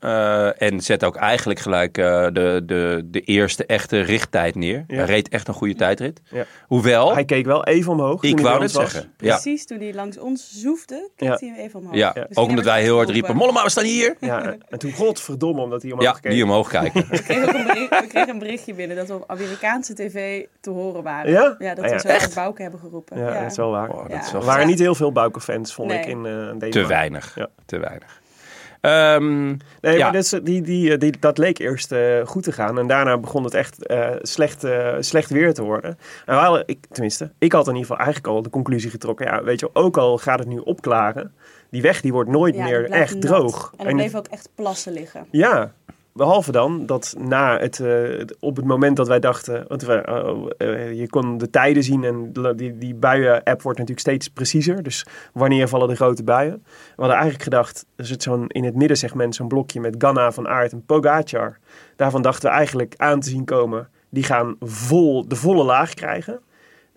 Eh, en zette ook eigenlijk gelijk eh, de, de, de eerste echte richttijd neer.
Ja.
Hij reed echt een goede tijdrit.
Ja.
Hoewel,
Hij keek wel even omhoog. toen
ik
hij
wou
bij
net
ons was.
zeggen. Ja,
Precies toen hij langs ons zoefde, keek
Ja.
hij hem even omhoog.
ja.
Dus hij
ook omdat
werd
wij heel hard
geholpen.
riepen, Mollema, we staan hier!
Ja, en toen godverdomme omdat hij omhoog
Ja,
keek.
die omhoog kijken.
<laughs>
We kregen, ook een bericht- we kregen een berichtje binnen dat we op Amerikaanse tv te horen waren.
Ja?
dat
Ah, ja.
we zo uit Bouke hebben geroepen.
Ja, dat is wel waar.
Oh, dat is
Ja.
wel
Er waren niet heel veel Bouke-fans, vond
Nee.
ik, in eh deze
te
maand.
weinig.
Ja.
Te weinig. Ehm,
Nee,
Ja.
maar dat, is- die, die, eh, die, dat leek eerst eh, goed te gaan. En daarna begon het echt eh, slecht, eh, slecht weer te worden. En we hadden, ik, tenminste, ik had in ieder geval eigenlijk al de conclusie getrokken. Ja, weet je, ook al gaat het nu opklaren. Die weg die wordt nooit
Ja, die
meer
blijft
echt
nat.
droog.
En er bleef ook echt plassen liggen.
Ja, behalve dan dat na het, eh, op het moment dat wij dachten, want we, eh, eh, je kon de tijden zien en de- die, die buien-app wordt natuurlijk steeds preciezer. Dus wanneer vallen de grote buien? We hadden eigenlijk gedacht, er zit zo'n, in het middensegment zo'n blokje met Ganna, Van Aert en Pogacar. Daarvan dachten we eigenlijk aan te zien komen, die gaan vol, de volle laag krijgen.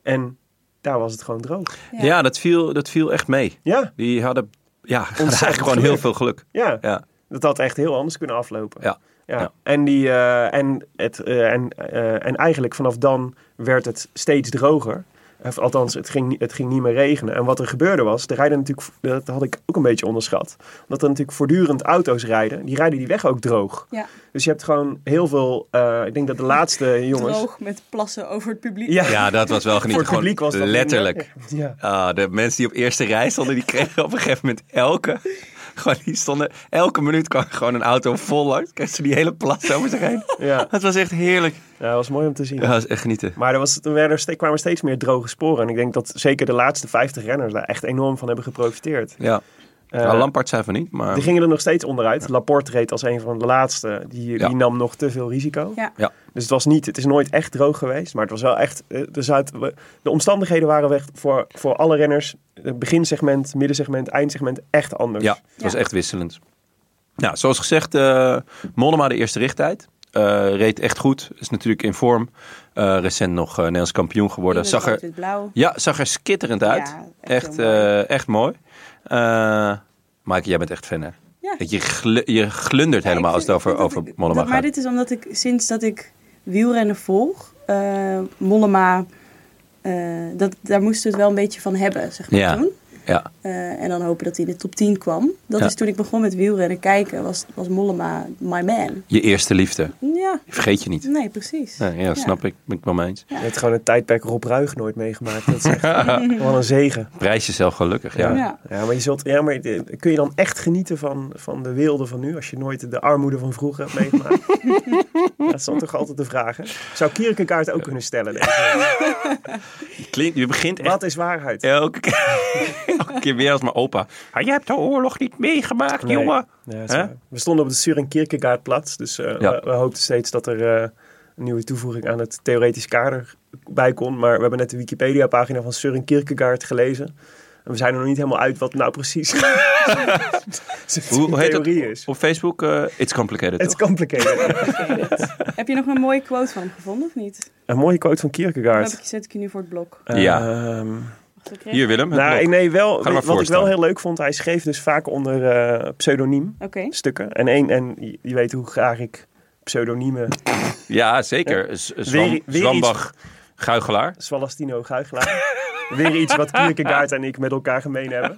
En daar was het gewoon droog.
ja,
Ja.
dat, viel, dat viel echt mee.
Ja,
Die hadden, ja, <laughs> hadden eigenlijk gewoon
geluk.
heel veel geluk.
ja.
Ja,
Dat had echt heel anders kunnen aflopen.
ja.
Ja.
Ja.
En, die, eh, en, het, eh, en, eh, en eigenlijk vanaf dan werd het steeds droger. Of althans, het ging, niet- het ging niet meer regenen. En wat er gebeurde was, er rijden natuurlijk, dat had ik ook een beetje onderschat. Omdat er natuurlijk voortdurend auto's rijden, die rijden die weg ook droog.
Ja,
Dus je hebt gewoon heel veel, eh, ik denk dat de laatste jongens...
droog met plassen over het publiek.
Ja,
ja, dat was wel
<laughs> voor
genieten.
het publiek
Gewoon
was dat
letterlijk.
minder. Ja.
Ah, de mensen die op eerste rij stonden, die kregen op een gegeven moment elke. Gewoon, die stonden, elke minuut kwam gewoon een auto vol langs. Kregen ze die hele plas over zich heen.
Ja.
Het was echt heerlijk.
ja, dat was mooi om te zien.
Ja, dat is echt genieten.
Maar er, was, er, werden er ste- kwamen steeds meer droge sporen. En ik denk dat zeker de laatste 50 renners daar echt enorm van hebben geprofiteerd.
Ja.
Eh,
Nou, Lampard zei van niet, maar.
Die gingen er nog steeds onderuit. Laporte reed als een van de laatste. Die,
Ja.
die nam nog te veel risico.
Ja.
Ja.
Dus het, was niet, het is nooit echt droog geweest. Maar het was wel echt... eh, Dus uit, we- de omstandigheden waren weg voor, voor alle renners. Het beginsegment, middensegment, eindsegment echt anders.
Ja, het was echt wisselend. Nou, zoals gezegd, eh Mollema de eerste richttijd. Eh, reed echt goed. Is natuurlijk in vorm. Eh, recent nog eh, Nederlands kampioen geworden. Zag er,
blauw.
ja, zag er skitterend uit.
Ja, echt
echt,
heel mooi.
eh, echt mooi. Eh Mike, jij bent echt fan hè?
Ja.
Dat je, glu- je glundert helemaal
Ja,
als
ik
het over,
vind- dat
over
ik-
Mollema
dat- Maar
gaat.
dit is omdat ik sinds dat ik wielrennen volg, eh, Mollema, eh, dat, daar moest het wel een beetje van hebben, zeg maar
Ja.
toen.
Ja,
Eh, en dan hopen dat hij in de top 10 kwam. Dat
Ja.
is toen ik begon met wielrennen kijken, was, was Mollema my man.
je eerste liefde.
Ja,
Die vergeet je niet.
nee, precies.
Nee, ja, snap ik. Ben ik wel mee eens.
Je hebt gewoon het tijdperk Rob Ruig nooit meegemaakt. Dat is
<laughs>
echt wel een zegen.
Prijs jezelf gelukkig. Ja.
Ja.
Ja, maar, je zult, ja, maar de- kun je dan echt genieten van, van de weelde van nu... als je nooit de armoede van vroeger hebt
<laughs>
meegemaakt? dat is dan toch altijd de vraag, hè? Zou Kierkegaard ook kunnen stellen? denk ik.
Klinkt, je begint echt
Wat is waarheid?
elke keer, <laughs> elke keer weer als mijn opa. Ah, jij hebt de oorlog niet meegemaakt,
Nee.
jongen.
Ja, dat is
Hè?
waar. We stonden op de Surin Kierkegaardplatz, dus eh,
Ja.
we, we hoopten steeds dat er eh, een nieuwe toevoeging aan het theoretisch kader bij kon. Maar we hebben net de Wikipedia-pagina van Søren Kierkegaard gelezen. En we zijn er nog niet helemaal uit wat nou precies <laughs> zijn
Hoe, hoe heet dat
theorie is.
op Facebook? eh, it's complicated,
It's
toch?
complicated.
Heb je nog een mooie quote van hem gevonden of niet?
een mooie quote van
Dan heb
Kierkegaard.
ik, zet ik je nu voor het blok.
Ja.
Ehm,
Wacht, ik kreeg-
Hier, Willem. het
nou,
blok.
nee, wel,
maar
wat ik wel
voorstellen.
heel leuk vond, hij schreef dus vaak onder eh, pseudoniem
Oké.
stukken. En, één, en je- je weet hoe graag ik pseudoniemen
Ja, zeker. Z- Zwam,
Weer- weer
Zwambach, Guigelaar.
Swalastino Guigelaar. Weer iets wat Kierkegaard en ik met elkaar gemeen hebben.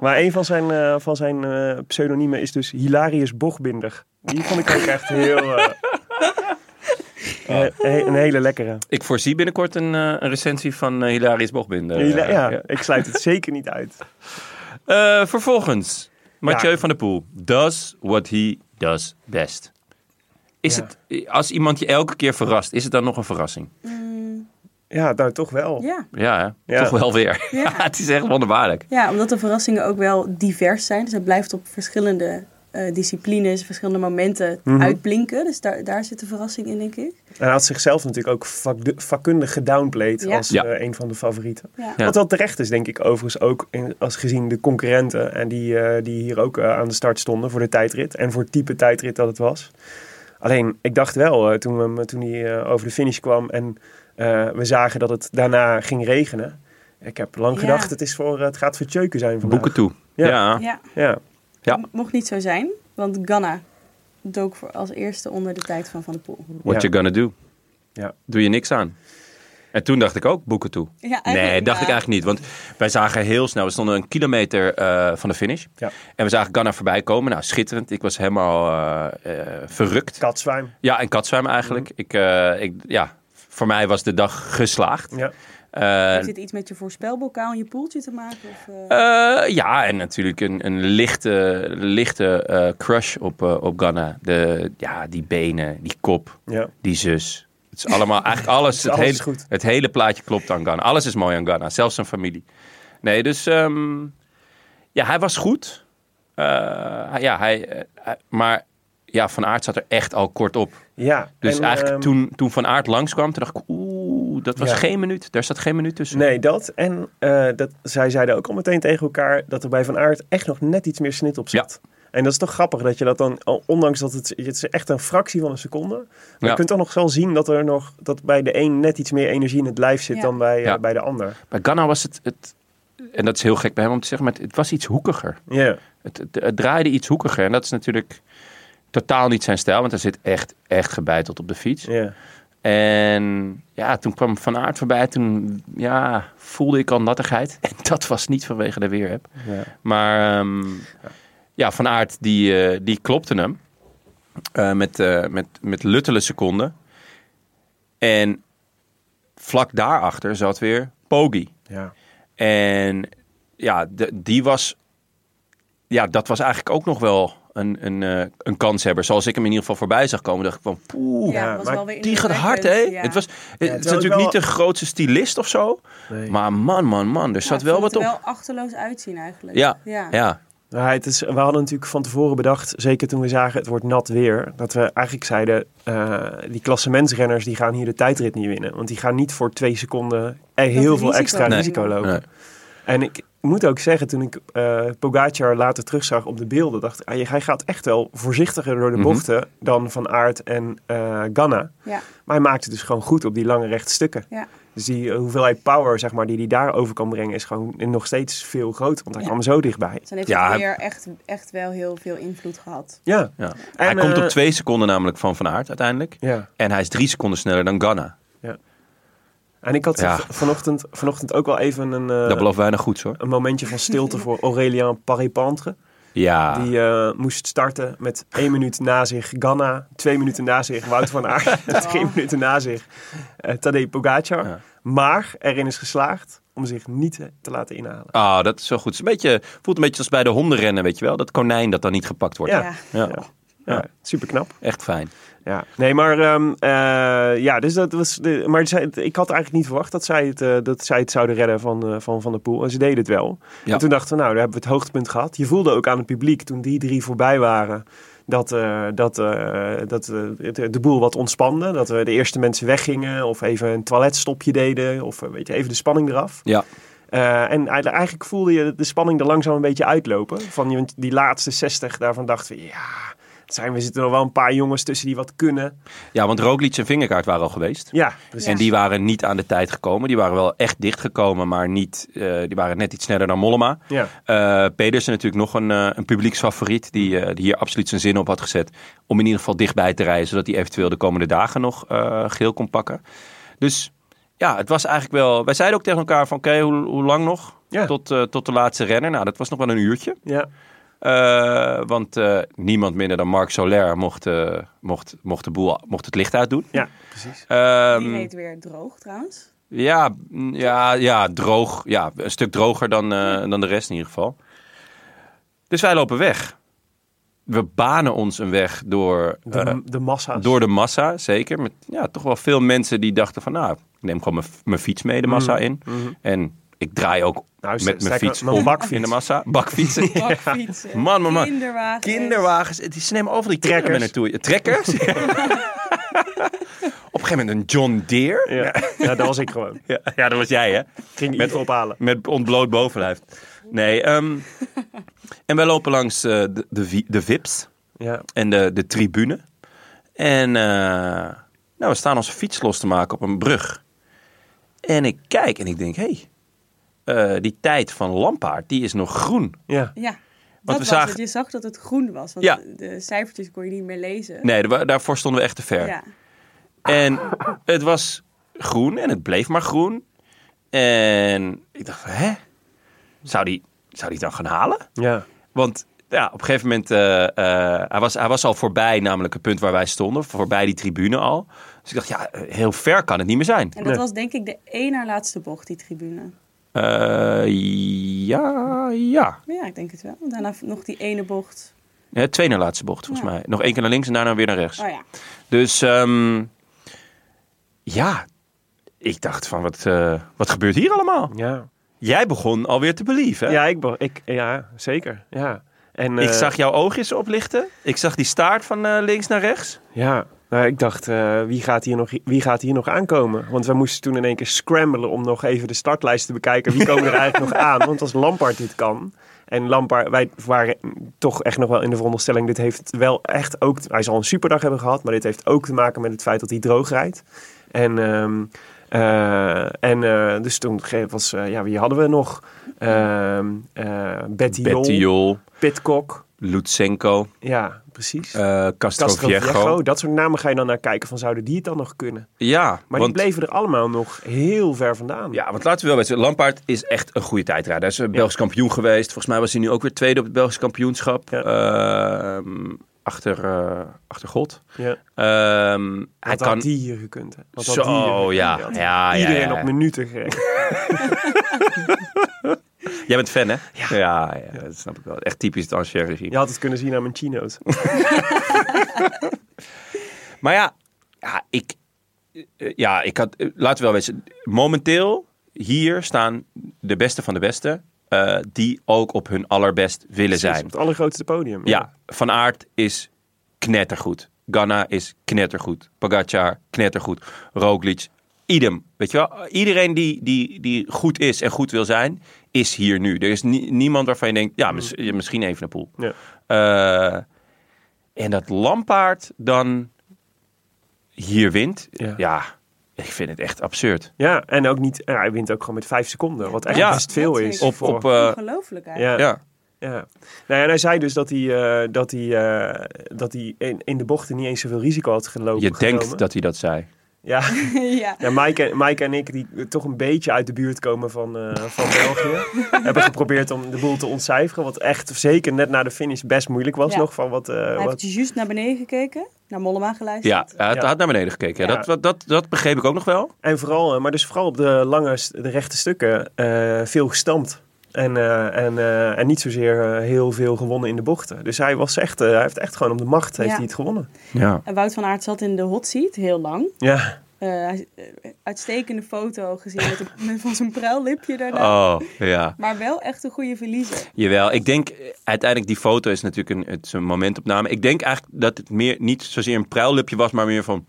Maar een van zijn, eh, van zijn eh, pseudoniemen is dus Hilarius Bochbinder. Die vond ik ook echt heel... eh, eh, he- een hele lekkere.
Ik voorzie binnenkort een, eh, een recensie van eh, Hilarius Bochbinder.
Hila-
Eh,
ja, ik sluit het zeker niet uit.
Eh, vervolgens, Mathieu
Ja.
van der Poel. Does what he does best. Is
Ja.
het, als iemand je elke keer verrast, is het dan nog een verrassing?
Ja, nou toch wel.
Ja.
Ja, hè?
Ja.
toch wel weer. Ja.
Ja.
<laughs> het is echt wonderbaarlijk.
ja, omdat de verrassingen ook wel divers zijn. Dus het blijft op verschillende eh, disciplines, verschillende momenten
Mhm.
uitblinken. Dus daar, daar zit de verrassing in, denk ik.
En hij had zichzelf natuurlijk ook vak- vakkundig gedownplayed
Ja.
als
Ja.
eh, een van de favorieten.
Ja.
Ja.
Wat wel terecht is, denk ik overigens ook, in- als gezien de concurrenten en die, eh, die hier ook eh, aan de start stonden voor de tijdrit en voor het type tijdrit dat het was. Alleen, ik dacht wel, eh, toen, we, hem- toen hij eh, over de finish kwam en eh, we zagen dat het daarna ging regenen. Ik heb lang
Ja.
gedacht, het, is voor, eh, het gaat voor Tjeuken zijn vandaag.
Boeken toe. Ja.
Ja.
Ja.
Ja,
Ja.
mocht niet zo zijn, want Ganna dook voor als eerste onder de tijd van Van der Poel.
What
Ja.
you gonna do?
Ja.
Doe je niks aan. En toen dacht ik ook, boeken toe.
Ja, eigenlijk,
nee, dacht
ja.
ik eigenlijk niet. Want wij zagen heel snel, we stonden een kilometer eh, van de finish.
Ja.
En we zagen Ganna voorbij komen. Nou, schitterend. Ik was helemaal eh, eh, verrukt.
katzwijm.
Ja, en katzwijm eigenlijk.
Mhm.
Ik, eh, ik, ja, voor mij was de dag geslaagd.
Ja.
Eh,
Heeft dit iets met je voorspelbokaal en je poeltje te maken? Of, eh?
eh, ja, en natuurlijk een, een lichte, lichte eh, crush op, eh, op Ghana. De, ja, die benen, die kop,
Ja.
die zus. Het is allemaal,
<laughs>
eigenlijk alles. het,
alles
hele,
is goed.
het hele plaatje klopt aan Ghana. Alles is mooi aan Ghana, zelfs zijn familie. Nee, dus ehm, ja, hij was goed. Eh, hij- ja, hij, eh, hij- maar ja, Van Aert zat er echt al kort op.
ja.
Dus
En,
eigenlijk
ehm,
toen, toen Van Aert langskwam, toen dacht ik, oeh, dat was
Ja.
geen minuut. Daar zat geen minuut tussen.
Nee, dat. En eh, dat, zij zeiden ook al meteen tegen elkaar dat er bij Van Aert echt nog net iets meer snit op zat. En dat is toch grappig dat je dat dan, al- ondanks dat het, het is echt een fractie van een seconde. Maar
Ja.
je kunt toch nog wel zien dat er nog dat bij de een net iets meer energie in het lijf zit
Ja.
dan bij, eh,
Ja.
bij de ander.
Bij Ganna was het, het, en dat is heel gek bij hem om te zeggen, maar het, het was iets hoekiger.
Ja,
Het, het, het draaide iets hoekiger en dat is natuurlijk totaal niet zijn stijl, want hij zit echt, echt gebeiteld op de fiets.
ja.
En ja, toen kwam Van Aert voorbij, toen ja, voelde ik al nattigheid. <laughs> En dat was niet vanwege de weerheb.
Ja.
Maar ehm, ja, Van Aert die, eh, die klopte hem Eh, met, eh, met, met luttele seconden. En vlak daarachter zat weer Poggi.
ja.
En ja, de- die was. Ja, dat was eigenlijk ook nog wel een, een, eh, een kanshebber. Zoals ik hem in ieder geval voorbij zag komen, dacht ik van poeh.
ja,
ja,
was
maar
wel weer
Die gaat hard, hè?
indrukwekkend, ja.
Het, was,
Ja,
het is
terwijl ik
natuurlijk
wel-
niet de grootste stylist of zo.
Nee.
Maar man, man, man, er
Ja,
zat
ik
wel
vond
wat
het
op.
er wel achterloos uitzien eigenlijk.
Ja, ja.
ja.
ja.
Maar Nou, het is, we hadden natuurlijk van tevoren bedacht, zeker toen we zagen het wordt nat weer, dat we eigenlijk zeiden, eh die klassementsrenners die gaan hier de tijdrit niet winnen. Want die gaan niet voor twee seconden er heel veel
risico
extra
nemen.
risico lopen.
Nee.
En ik moet ook zeggen, toen ik eh Pogacar later terugzag op de beelden, dacht ik, ah, hij- hij gaat echt wel voorzichtiger door de
Mhm.
bochten dan Van Aert en eh Ganna.
Ja,
Maar hij maakte dus gewoon goed op die lange rechte stukken.
ja.
Dus die eh, hoeveelheid power zeg maar, die hij daarover kan brengen is gewoon nog steeds veel groter, want hij
Ja.
kwam zo dichtbij.
Dus dan heeft
Ja.
het weer echt, echt wel heel veel invloed gehad.
Ja,
Hij
En,
komt op
eh,
twee seconden namelijk van Van Aert uiteindelijk.
ja.
En hij is drie seconden sneller dan Ganna.
En ik had
Ja.
v- vanochtend, vanochtend ook wel even een, eh,
dat belooft weinig goeds hoor.
een momentje van stilte voor Aurélien Paripantre.
<laughs> Ja.
Die eh, moest starten met één minuut na zich Ganna, twee minuten na zich Wout van Aert, drie minuten na zich eh Tadej Pogacar.
Ja.
Maar erin is geslaagd om zich niet eh, te laten inhalen.
Ah, dat is zo goed. Het is een beetje, voelt een beetje als bij de hondenrennen, weet je wel. Dat konijn dat dan niet gepakt wordt.
Ja.
Ja.
Ja,
Ja. Ja, super knap.
echt fijn.
Ja. Nee, maar, ehm, eh, ja, dus dat was de, maar zij, ik had eigenlijk niet verwacht dat zij het, eh, dat zij het zouden redden van, eh, van Van der Poel. En ze deden het wel.
Ja.
En toen dachten we, nou, daar hebben we het hoogtepunt gehad. Je voelde ook aan het publiek toen die drie voorbij waren. dat, eh, dat, eh, dat eh, het- de boel wat ontspande. Dat we de eerste mensen weggingen of even een toiletstopje deden. Of eh, weet je, even de spanning eraf.
Ja.
Eh, en eigenlijk- eigenlijk voelde je de spanning er langzaam een beetje uitlopen. Van die- die laatste 60, daarvan dachten we, ja, het zijn, we zitten er wel een paar jongens tussen die wat kunnen.
Ja, want Roglic en Vingerkaart waren al geweest.
Ja, precies.
En die waren niet aan de tijd gekomen. Die waren wel echt dichtgekomen, maar niet, eh, die waren net iets sneller dan Mollema.
Ja.
Eh, Pedersen natuurlijk nog een, eh, een publieksfavoriet die, eh, die hier absoluut zijn zin op had gezet. Om in ieder geval dichtbij te rijden, zodat hij eventueel de komende dagen nog eh, geel kon pakken. Dus ja, het was eigenlijk wel... Wij zeiden ook tegen elkaar van oké, hoe, hoe lang nog?
Ja.
Tot, eh, tot de laatste renner. Nou, dat was nog wel een uurtje.
Ja.
Eh, want eh, niemand minder dan Marc Soler mocht, eh, mocht, mocht, de boel, mocht het licht uitdoen.
ja, precies.
Ehm,
Die reed weer droog trouwens.
ja, mm, ja, ja, droog. Ja, een stuk droger dan, eh, dan de rest in ieder geval. Dus wij lopen weg. We banen ons een weg door,
De,
eh,
de massa's.
door de massa, zeker. Met ja, toch wel veel mensen die dachten van... nou, ik neem gewoon mijn- mijn fiets mee de massa in. En ik draai ook
Mhm. Nou,
met mijn
sterker,
fiets
mijn
om
bakfiets.
in de
<laughs>
massa. Bakfietsen.
Bakfietsen.
Man, man, man.
Kinderwagens.
Kinderwagens. Het is, ze nemen over die trekkers.
Trekkers.
naartoe. Ja, Trekkers? Op
<laughs>
een gegeven moment een John Deere.
Ja. <laughs> ja, dat was ik gewoon.
Ja, ja dat was jij, hè?
Ik ging
Met-
Met ophalen.
Met ontbloot bovenlijf. Nee, ehm, en wij lopen langs eh, de, de, vi- de VIP's
Ja.
en de, de tribune. En eh, nou, we staan onze fiets los te maken op een brug. En ik kijk en ik denk, hé, hey, eh, die tijd van Lampaard, die is nog groen.
Ja.
Ja, dat
we
was
zagen-
het. Je zag dat het groen was, want
Ja.
de cijfertjes kon je niet meer lezen.
Nee, da- daarvoor stonden we echt te ver.
Ja.
En het was groen en het bleef maar groen. En ik dacht, van, hè? Zou die, zou die het dan gaan halen?
Ja.
Want ja, op een gegeven moment, eh, eh, hij, was, hij was al voorbij, namelijk het punt waar wij stonden, voorbij die tribune al. Dus ik dacht, ja, eh, heel ver kan het niet meer zijn.
En dat was denk ik de één na laatste bocht, die tribune.
Eh, ja, ja.
Maar ja, ik denk het wel. Daarna nog die ene bocht.
Het tweede na laatste bocht, volgens
Ja.
mij. Nog één keer naar links en daarna weer naar rechts.
Oh ja,
Dus ehm, ja, ik dacht van, wat, eh, wat gebeurt hier allemaal?
Ja.
Jij begon alweer te believen.
Ja, ik, be- ik, ja zeker. Ja. En,
Ik
eh,
zag jouw oogjes oplichten. Ik zag die staart van eh, links naar rechts.
Ja, nou, ik dacht, eh, wie, gaat hier nog, wie gaat hier nog aankomen? Want we moesten toen in één keer scramblen om nog even de startlijst te bekijken. Wie <laughs> komen er eigenlijk nog aan? Want als Lampard dit kan... En Lampard, wij waren toch echt nog wel in de veronderstelling... dit heeft wel echt ook... Hij zal een superdag hebben gehad, maar dit heeft ook te maken met het feit dat hij droog rijdt. En, ehm, eh, en eh, dus toen ge- was, eh, ja, wie hadden we nog? Ehm eh Betty Jol,
Bettiol,
Pitcock.
Lutsenko,
Ja, precies.
eh Castro Viejo.
Castroviejo, dat soort namen ga je dan naar kijken van zouden die het dan nog kunnen.
Ja,
Maar
want,
die bleven er allemaal nog heel ver vandaan.
ja, want laten we wel weten. Lampaard is echt een goede tijdrijder. Hij is een Belgisch kampioen geweest. Volgens mij was hij nu ook weer tweede op het Belgisch kampioenschap.
Ja.
Ehm, achter, eh, achter God.
Ja.
Ehm, hij
Wat
kan...
had die hier gekund? Hè? Wat had
Zo,
die hier gekund?
ja.
Die had
Ja, ja,
Iedereen
ja.
op minuten gereden.
Jij bent fan, hè? Ja. Ja, dat snap ik wel. Echt typisch het ancien regime.
Je had het kunnen zien aan mijn chino's.
Maar ja, ja ik, eh, ja, ik had, eh, laten we wel weten. Momenteel, hier staan de beste van de beste. eh, die ook op hun allerbest willen
Precies,
zijn.
Op het allergrootste podium.
Ja, Van Aert is knettergoed. Ganna is knettergoed. Pogacar, knettergoed. Roglic, idem. Weet je wel? Iedereen die, die, die goed is en goed wil zijn, is hier nu. Er is nie- niemand waarvan je denkt, ja, mis- misschien even een poel.
Mm. Ja.
Eh, en dat Lampaard dan hier wint, ja.
Ja.
ik vind het echt absurd.
Ja, en ook niet, ja, hij wint ook gewoon met vijf seconden. Wat echt
Ja.
best veel
Dat
is.
vind
Op,
ik
voor-
op, eh,
ongelooflijk eigenlijk.
ja.
ja.
Ja. Nou ja, en hij zei dus dat hij, eh, dat hij, eh, dat hij in, in de bochten niet eens zoveel risico had gelopen.
Je
genomen.
denkt dat hij dat zei.
Ja.
<laughs> ja.
Ja, Mike en, Mike en ik, die toch een beetje uit de buurt komen van, eh, van
<laughs>
België, hebben geprobeerd om de boel te ontcijferen. Wat echt zeker net na de finish best moeilijk was
Ja.
nog. Van wat, eh,
Hij heeft
wat...
juist naar beneden gekeken, naar Mollema geluisterd.
Ja, hij had,
Ja.
had naar beneden gekeken. Ja,
Ja.
Dat, dat, dat, dat begreep ik ook nog wel.
En vooral, eh, maar dus vooral op de lange, s- de rechte stukken eh, veel gestampt. En, eh, en, eh, en niet zozeer eh, heel veel gewonnen in de bochten. Dus hij, was echt, eh, hij heeft echt gewoon om de macht heeft
Ja.
hij het gewonnen.
Ja.
En Wout van Aert zat in de hot seat heel lang.
Ja,
eh, hij- eh, uitstekende foto gezien met, een, met van zijn pruillipje daarna.
Oh, ja.
Maar wel echt een goede verliezer.
Jawel, ik denk eh, uiteindelijk die foto is natuurlijk een, het is een momentopname. Ik denk eigenlijk dat het meer niet zozeer een pruillipje was, maar meer van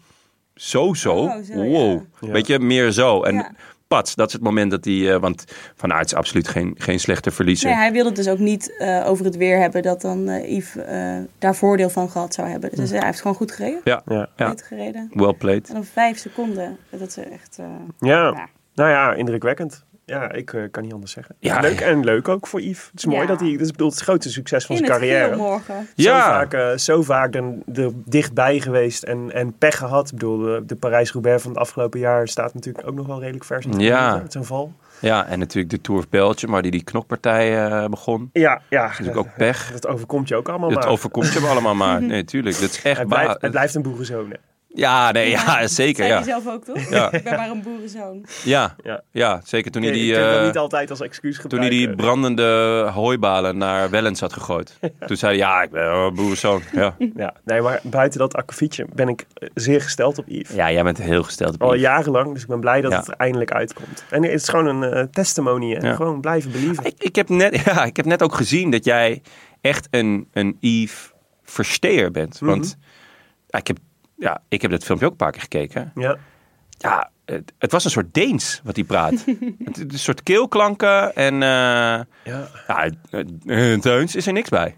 zo zo.
Oh, zo,
wow.
ja.
Weet je, meer zo. En
Ja.
pats, dat is het moment dat hij, eh, want Van Aert is absoluut geen, geen slechte verliezer.
Nee, hij wilde het dus ook niet eh, over het weer hebben dat dan eh Yves eh, daar voordeel van gehad zou hebben. Dus ja, hij heeft gewoon goed gereden.
Hm. Ja,
Ja.
ja.
Goed gereden.
well played.
En dan vijf seconden. Dat is echt... eh,
Ja.
Ja.
nou ja, indrukwekkend. Ja, ik eh, kan niet anders zeggen.
Ja.
leuk en leuk ook voor Yves. Het is mooi
Ja.
dat hij, dat is, ik bedoel, het grootste succes van
in
zijn
het
carrière.
geel morgen.
Zo
Ja.
vaak, eh, zo vaak er, er dichtbij geweest en, en pech gehad. Ik bedoel, de, de Parijs-Roubaix van het afgelopen jaar staat natuurlijk ook nog wel redelijk vers. in het
Ja.
verleden, Met zo'n val.
Ja, en natuurlijk de Tour of Belgium, waar die, die knokpartij eh, begon.
Ja, ja.
Dat is natuurlijk ook pech.
Dat overkomt je ook allemaal
Het
maar.
overkomt je allemaal
<laughs>
maar. Nee, tuurlijk. Dat is echt
Hij blijft,
waar.
hij blijft een boerenzone.
Ja, nee, ja, zeker.
Zei hij
Ja.
zelf ook, toch?
Ja.
Ik ben maar een boerenzoon.
Ja,
Ja.
ja, zeker toen hij
Ik
die...
kan dat
eh,
niet altijd als excuus eh.
Toen hij
gebruiken.
die brandende hooibalen naar Wellens had gegooid. Toen zei hij, ja, ik ben een boerenzoon. Ja.
Ja, nee, maar buiten dat akkefietje ben ik eh, zeer gesteld op
<laughs>
Yves.
ja, jij bent heel gesteld op
Al
Yves.
jarenlang, dus ik ben blij dat
Ja.
het er eindelijk uitkomt. En het is gewoon een eh, testimony, hè.
Ja.
Gewoon blijven believen.
Ik, ik, heb net, <laughs> ja, ik heb net ook gezien dat jij echt een, een Yves-versteer bent. Want ja, ik, heb, ja, ik heb dat filmpje ook een paar keer gekeken.
Ja.
Ja, het, het was een soort Deens wat hij praat. het, het is een soort keelklanken en... eh,
Ja.
ja, eh, eh, Teuns is er niks bij.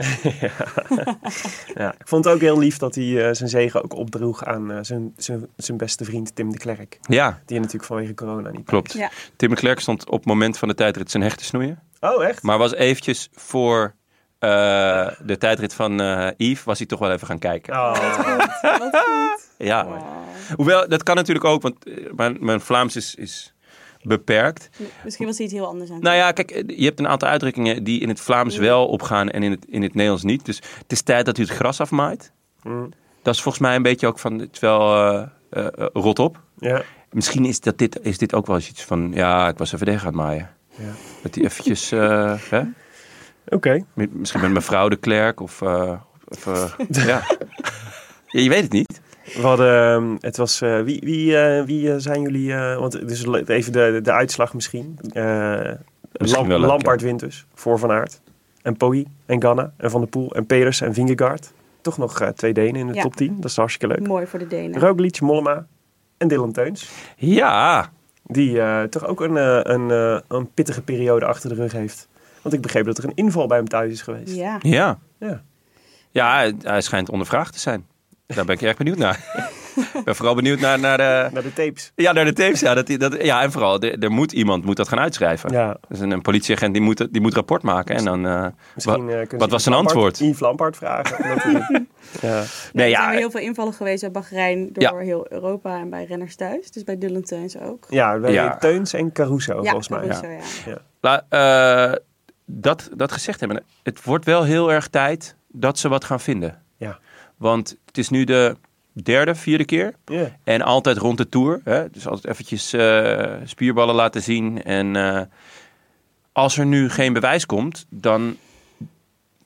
ja, ik vond het ook heel lief dat hij eh, zijn zegen ook opdroeg aan eh, zijn, zijn, zijn beste vriend Tim de Klerk.
Ja,
Die natuurlijk vanwege corona niet...
klopt.
Ja.
Tim de Klerk stond op het moment van de tijdrit zijn hechten snoeien.
Oh, echt?
Maar was eventjes voor eh, de tijdrit van eh Yves, was hij toch wel even gaan kijken.
Oh.
Wat
<laughs>
goed.
Ja.
Oh.
Hoewel, dat kan natuurlijk ook, want eh, mijn, mijn Vlaams is, is beperkt.
Misschien was hij iets heel anders aan.
Nou ja, kijk, eh, je hebt een aantal uitdrukkingen die in het Vlaams
Mm.
wel opgaan en in het, in het Nederlands niet. Dus het is tijd dat u het gras afmaait.
Mm.
Dat is volgens mij een beetje ook van, het is wel eh, eh, eh, rot op.
Ja.
Misschien is, dat dit, is dit ook wel eens iets van, ja, ik was even weg aan het maaien.
Ja.
Dat hij eventjes, eh, hè?
Oké.
Met- Misschien met mevrouw de Klerk of... eh, of
<laughs>
eh, ja. Ja, Je weet het niet.
We hadden, ehm, het was, eh, wie, wie, eh, wie eh, zijn jullie, eh, want het is le- even de, de, de uitslag misschien. Eh, Lam-
wel leuk,
Lampaard wint dus, voor Van Aert. En Poggi, en Ganna, en Van der Poel, en Peders, en Vingegaard. Toch nog eh, twee Denen in de
Ja.
top 10, dat is hartstikke leuk.
Mooi voor de Denen.
Roglic, Mollema en Dylan Teuns.
Ja,
Die eh, toch ook een, eh, een, eh, een pittige periode achter de rug heeft. Want ik begreep dat er een inval bij hem thuis is geweest.
Ja.
ja.
Ja.
Ja, hij- hij schijnt ondervraagd te zijn. Daar ben ik erg benieuwd naar. ik ben vooral benieuwd naar, naar, de,
Naar de tapes.
ja, naar de tapes. Ja, dat, die- dat, ja en vooral, er, er moet iemand moet dat gaan uitschrijven.
Ja.
Dus een, een politieagent die moet, het- die moet rapport maken. En dan, eh,
Misschien,
wa-
eh, kunnen ze
wat was zijn
Lampaard-
antwoord?
Yves Lampaard vragen. <laughs> omdat hij- ja.
Nee,
Er zijn
ja, eh,
weer heel veel invallen geweest bij Bahrein door
Ja.
heel Europa en bij renners thuis. Dus bij Dylan Teuns ook.
Ja, bij
Ja.
Teuns en Caruso, volgens mij.
Caruso,
Ja.
ja.
la- eh, dat, dat gezegd hebben. Het wordt wel heel erg tijd dat ze wat gaan vinden.
Ja.
Want het is nu de derde, vierde keer.
Ja.
En altijd rond de tour. Hè? Dus altijd eventjes eh, spierballen laten zien. En eh, als er nu geen bewijs komt, dan,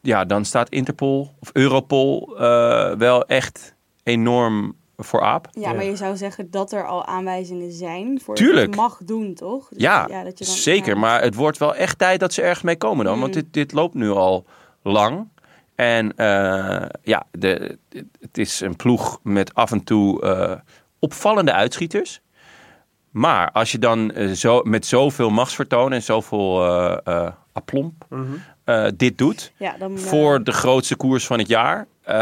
ja, dan staat Interpol of Europol eh, wel echt enorm voor aap.
Ja, maar je zou zeggen dat er al aanwijzingen zijn voor
Tuurlijk.
je mag doen, toch? Dus
Ja,
dat je dan-
zeker.
ja. Mm.
Maar het wordt wel echt tijd dat ze ergens mee komen dan. Want dit, dit loopt nu al lang. En eh, ja, de, het is een ploeg met af en toe eh, opvallende uitschieters. Maar als je dan eh, zo, met zoveel machtsvertoon en zoveel eh eh, aplomb eh, dit doet...
Ja, dan, eh,
voor de grootste koers van het jaar... eh,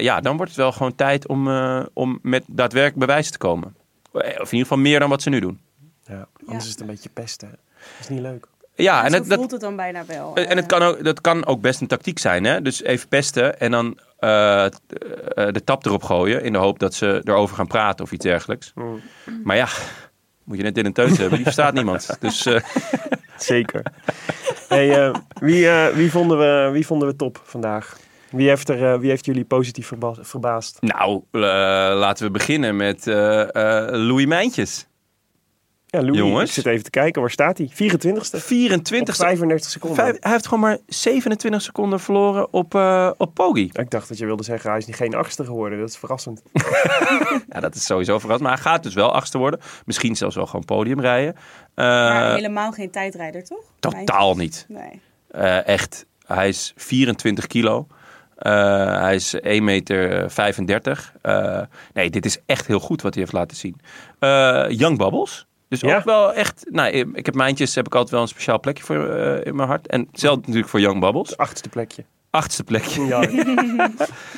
ja, dan wordt het wel gewoon tijd om, eh, om met daadwerkelijk bewijs te komen. Eh, Of in ieder geval meer dan wat ze nu doen.
Ja, anders is het een beetje pesten. Dat is niet leuk.
Ja, en
zo
dat, dat,
voelt het dan bijna wel.
Eh,
eh,
En het kan ook, dat kan ook best een tactiek zijn. Hè? Dus even pesten en dan eh, t- eh, de tap erop gooien. In de hoop dat ze erover gaan praten of iets dergelijks. Maar ja, moet je net in een teut hebben. Die verstaat niemand. Dus eh,
Zeker. <laughs> hey, eh, wie, eh, wie, vonden we, wie vonden we top vandaag? Wie heeft, er, eh, wie heeft jullie positief verba- verbaasd?
nou, eh, laten we beginnen met eh, eh, Louis Mijntjes.
Ja, Louis,
Jongens.
ik zit even te kijken. Waar staat hij? 24ste.
24
Op 35 seconden.
Vijf- hij heeft gewoon maar 27 seconden verloren op, eh op Poggi.
Ik dacht dat je wilde zeggen, hij is niet geen achtste geworden. Dat is verrassend.
Ja, dat is sowieso verrassend. Maar hij gaat dus wel achtste worden. Misschien zelfs wel gewoon podium rijden. Eh,
Maar helemaal geen tijdrijder, toch?
totaal niet.
Nee.
Eh, echt. Hij is 24 kilo. Eh, hij is 1,35 meter. Eh, nee, dit is echt heel goed wat hij heeft laten zien. Eh, Young Bubbles. Dus
Ja.
ook wel echt... Nou, ik ik heb mijntjes, heb ik altijd wel een speciaal plekje voor eh, in mijn hart. En hetzelfde natuurlijk voor Young Bubbles.
Achtste plekje.
<laughs> Achtste plekje. <laughs>
Ja.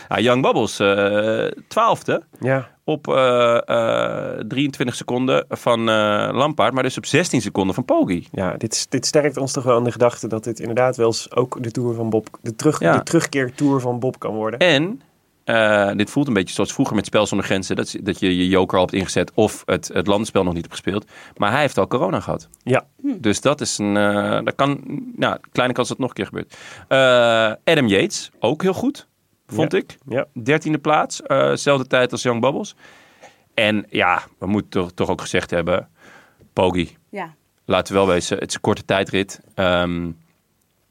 Ja, Young Bubbles, eh, twaalfde.
ja.
Op eh, eh, 23 seconden van eh Lampaard. Maar dus op 16 seconden van Poggi.
Ja, dit, s- dit sterkt ons toch wel aan de gedachte dat dit inderdaad wel eens ook de, tour van Bob, de, terug,
Ja.
de terugkeertour van Bob kan worden.
En eh, dit voelt een beetje zoals vroeger met Spel zonder Grenzen. Dat, is- dat je je joker al hebt ingezet of het, het landenspel nog niet hebt gespeeld. Maar hij heeft al corona gehad.
Ja,
Dus dat is een... eh dat kan... Nou, kleine kans dat het nog een keer gebeurt. Eh, Adam Yates, ook heel goed, vond
Ja.
ik.
ja.
Dertiende plaats, eh, zelfde tijd als Young Bubbles. En ja, we moeten toch, toch ook gezegd hebben... Poggi,
Ja.
laten we wel wezen, het is een korte tijdrit. Ehm,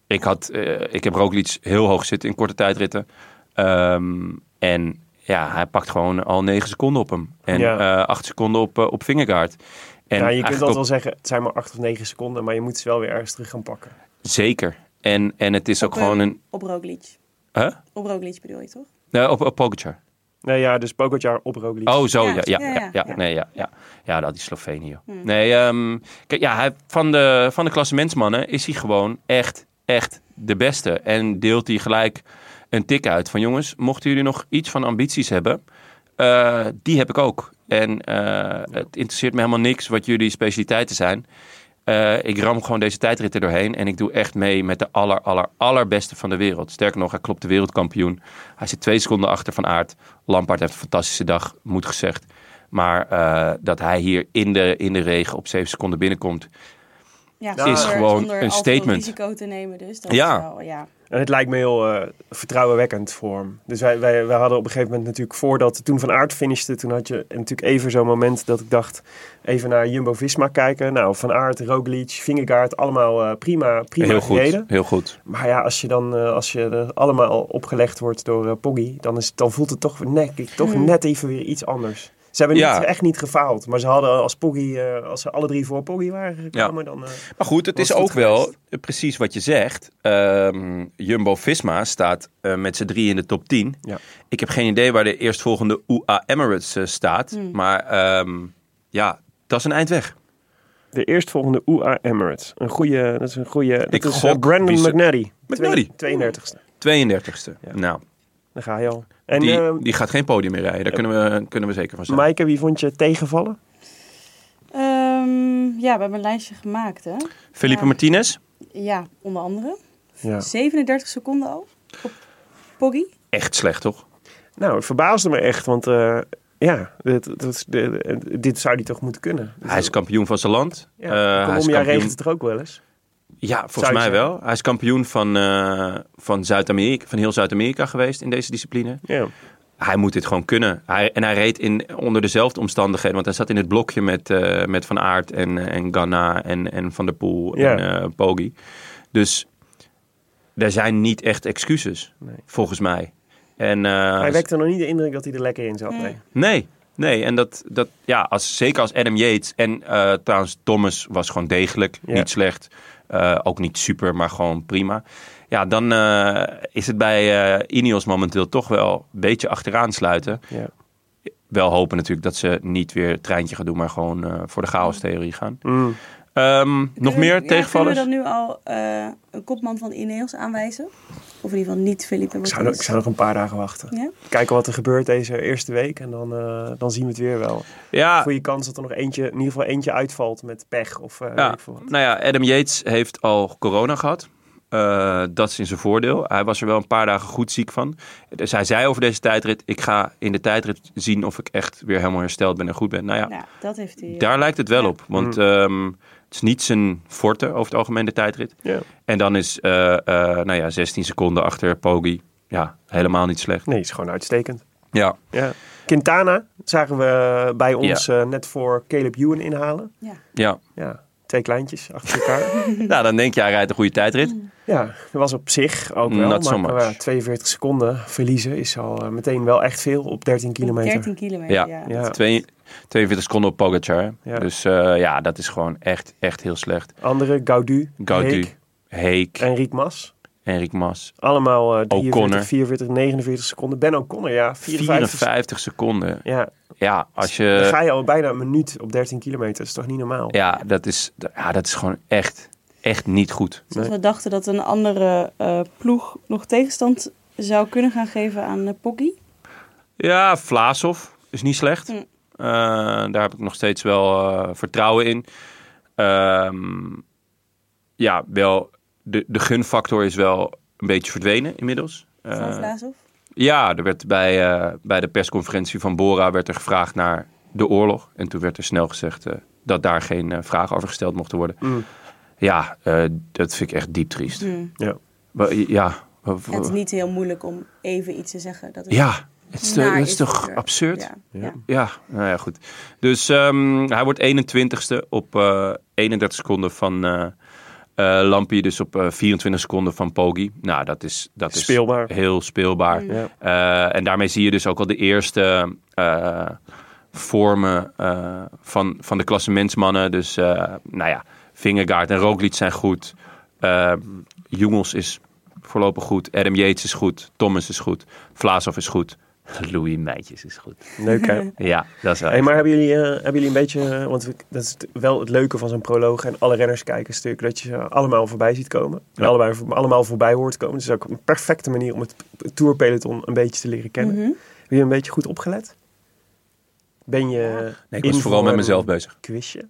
ik, had, eh, ik heb Roglic heel hoog zitten in korte tijdritten. Ehm, en ja, hij pakt gewoon al negen seconden op hem. En eh
Ja.
acht seconden op, eh, op Vingegaard. En
ja, je
eigenlijk
kunt altijd wel
op-
zeggen, het zijn maar acht of negen seconden, maar je moet ze wel weer ergens terug gaan pakken.
Zeker. En, en het is ook
Op,
gewoon
eh,
een...
Op Roglic.
Huh?
Op Roglic bedoel je, toch?
Nee, op, op Pogacar.
Nee, ja, dus Pogacar op Roglic.
Oh, zo,
Ja,
ja. Ja, ja,
ja,
ja,
ja.
nee, ja, ja. ja dat is Slovenië. joh. Nee, ehm, kijk, ja, hij, van de, van de klassementsmannen is hij gewoon echt, echt de beste. En deelt hij gelijk een tik uit van jongens, mochten jullie nog iets van ambities hebben, eh, die heb ik ook. En eh, het interesseert me helemaal niks wat jullie specialiteiten zijn. Eh, ik ram gewoon deze tijdrit er doorheen en ik doe echt mee met de aller, aller, allerbeste van de wereld. Sterker nog, hij klopt de wereldkampioen. Hij zit twee seconden achter van Aert. Lampaard heeft een fantastische dag, moet gezegd. Maar eh, dat hij hier in de, in de regen op zeven seconden binnenkomt.
Ja,
Nou, is
gewoon een
al veel
statement.
risico te nemen, dus. Dat
Ja.
Is wel, ja.
En het lijkt me heel eh, vertrouwenwekkend voor hem. Dus wij, wij, wij hadden op een gegeven moment natuurlijk voordat, toen Van Aert finishte, toen had je natuurlijk even zo'n moment dat ik dacht, even naar Jumbo-Visma kijken. Nou, Van Aert, Roglic, Vingegaard, allemaal eh, prima, prima
Heel goed,
gereden.
heel goed.
Maar ja, als je dan eh, als je er allemaal opgelegd wordt door eh, Poggi, dan, is, het- dan voelt het toch, net, toch net even weer iets anders. Ze hebben
Ja.
niet, echt niet gefaald, maar ze hadden als Poggi, eh, als ze alle drie voor Poggi waren gekomen, dan... eh,
Maar goed, het
Was
is
goed
ook wel
geweest.
eh, precies wat je zegt. Ehm, Jumbo-Visma staat eh, met z'n drie in de top 10.
Ja.
Ik heb geen idee waar de eerstvolgende UA Emirates eh, staat.
Hmm.
Maar ehm, ja, dat is een eind weg.
De eerstvolgende UA Emirates. Een goede, dat is een goede. Dat
Ik
is
gok
eh, Brandon
wie ze-
McNally.
McNally.
Twee- 32e.
32e. Nou,
Daar ga je al. En
die,
eh,
die gaat geen podium meer rijden. Daar kunnen we, kunnen we zeker van zijn.
Maaike, wie vond je tegenvallen?
Ehm, ja, we hebben een lijstje gemaakt, hè?
Felipe
Ja.
Martinez.
Ja, onder andere.
Ja.
37 seconden al op Poggi.
Echt slecht, toch?
Nou, het verbaasde me echt, want eh, ja, dit, dat is- de- de- dit zou die toch moeten kunnen.
Hij is kampioen van zijn land.
Ja,
Eh, hij is
Colombia
kampioen-
regent het er ook wel eens.
Ja,
Zou
volgens
ik
mij
zeggen.
wel. Hij is kampioen van, eh, van, Zuid-Amerika, van heel Zuid-Amerika geweest in deze discipline.
Ja.
Hij moet dit gewoon kunnen. Hij, en hij reed in, onder dezelfde omstandigheden. Want hij zat in het blokje met, eh, met Van Aert en, eh, en Ganna en, en Van der Poel
Ja.
en eh Poggi. Dus er zijn niet echt excuses, volgens mij. En, eh,
Hij wekte nog niet de indruk dat hij er lekker in zat. Nee.
Nee, nee. En dat, dat ja, als, zeker als Adam Yates en eh, trouwens Thomas was gewoon degelijk.
Ja.
Niet slecht. Eh, ook niet super, maar gewoon prima. Ja, dan eh, is het bij eh Ineos momenteel toch wel een beetje achteraan sluiten.
Ja.
Wel hopen natuurlijk dat ze niet weer het treintje gaan doen, maar gewoon eh, voor de chaos-theorie gaan.
Mm.
Ehm, nog
Kunnen we-
meer
ja,
tegenvallers?
Kunnen we dan nu al eh, een kopman van Ineos aanwijzen? Of in ieder geval niet Felipe
Ik, zou, nog- ik zou nog een paar dagen wachten.
Ja?
Kijken wat er gebeurt deze eerste week en dan, eh, dan zien we het weer wel.
Ja,
Goede kans dat er nog eentje, in ieder geval eentje uitvalt met pech of eh, weet
Ja,
ik veel wat.
nou ja, Adam Yates heeft al corona gehad. Eh, dat is in zijn voordeel. Hij was er wel een paar dagen goed ziek van. Dus hij zei over deze tijdrit: Ik ga in de tijdrit zien of ik echt weer helemaal hersteld ben en goed ben. Nou ja,
Nou, dat heeft hij.
daar lijkt het wel
Ja.
op. Want
Mm.
ehm, het is niet zijn forte over het algemeen de tijdrit.
Ja.
En dan is eh, eh, nou ja, 16 seconden achter Poggi. Ja, helemaal niet slecht.
Nee, is gewoon uitstekend.
Ja.
Ja. Quintana zagen we bij ons
Ja.
eh, net voor Caleb Ewan inhalen.
Ja. <laughs>
Ja.
Ja, twee kleintjes achter
<laughs>
elkaar.
Nou, dan denk je, hij rijdt een goede tijdrit.
Mm.
ja, dat was op zich ook wel.
Not
maar
so much.
eh, 42 seconden verliezen is al eh, meteen wel echt veel op 13 kilometer.
13 kilometer,
Ja.
ja.
Ja.
Twee- 42 seconden op Pogacar. hè?
Ja.
Dus eh, ja, dat is gewoon echt, echt heel slecht.
Andere, Gaudu,
Gaudu,
Heek
Heek,
en Riek Mas.
Enric Mas.
Allemaal eh 43,
O'Connor.
44, 49 seconden. Ben O'Connor, ja. 54.
54 seconden.
Ja,
Ja, als
dan ga
je...
je al bijna een minuut op 13 kilometer. Dat is toch niet normaal?
Eh, Ja, dat is, ja, dat is gewoon echt, echt niet goed.
Zoals we dachten dat een andere eh, ploeg nog tegenstand zou kunnen gaan geven aan eh, Poggi.
Ja, Vlaasov is niet slecht.
Mm.
Eh, daar heb ik nog steeds wel eh, vertrouwen in. Ehm, ja, wel, de, de gunfactor is wel een beetje verdwenen inmiddels.
Van
Eh,
Vlaashoff.
ja, er werd bij, eh, bij de persconferentie van Bora werd er gevraagd naar de oorlog. En toen werd er snel gezegd eh, dat daar geen eh, vragen over gesteld mochten worden.
Mm.
Ja, eh, dat vind ik echt diep triest.
Hmm.
Ja.
Wa- Ja, wa- wa-
Het is niet heel moeilijk om even iets te zeggen. Dat het
ja het is, te-
naar
het is toch
gebeurd.
absurd?
Ja, ja.
Ja, nou ja, goed. Dus ehm, hij wordt 21ste op eh, 31 seconden van eh eh, Lampie, dus op eh, 24 seconden van Poggi. Nou, dat is, dat is
Speelbaar. Mm.
heel speelbaar.
Ja.
Eh, en daarmee zie je dus ook al de eerste eh, vormen eh, van, van de klassementsmannen. Dus, eh, nou ja, Vingegaard en Roglic zijn goed. Eh, Jongels is voorlopig goed. Adam Yates is goed. Thomas is goed. Vlaasov is goed. <laughs> Louis Meijtjes is goed.
Leuk, hè?
Ja, dat is wel.
Hey,
echt-
maar hebben jullie, eh, hebben jullie een beetje, eh, want we- dat is t- wel het leuke van zo'n proloog en alle renners kijken stuk, dat je ze allemaal voorbij ziet komen. En
Ja.
allebei, voor- allemaal voorbij hoort komen. Dus dat is ook een perfecte manier om het p- tourpeloton een beetje te leren kennen.
Mhm.
Heb je een beetje goed opgelet? Ben je
Nee, ik was vooral met mezelf bezig.
Quizje?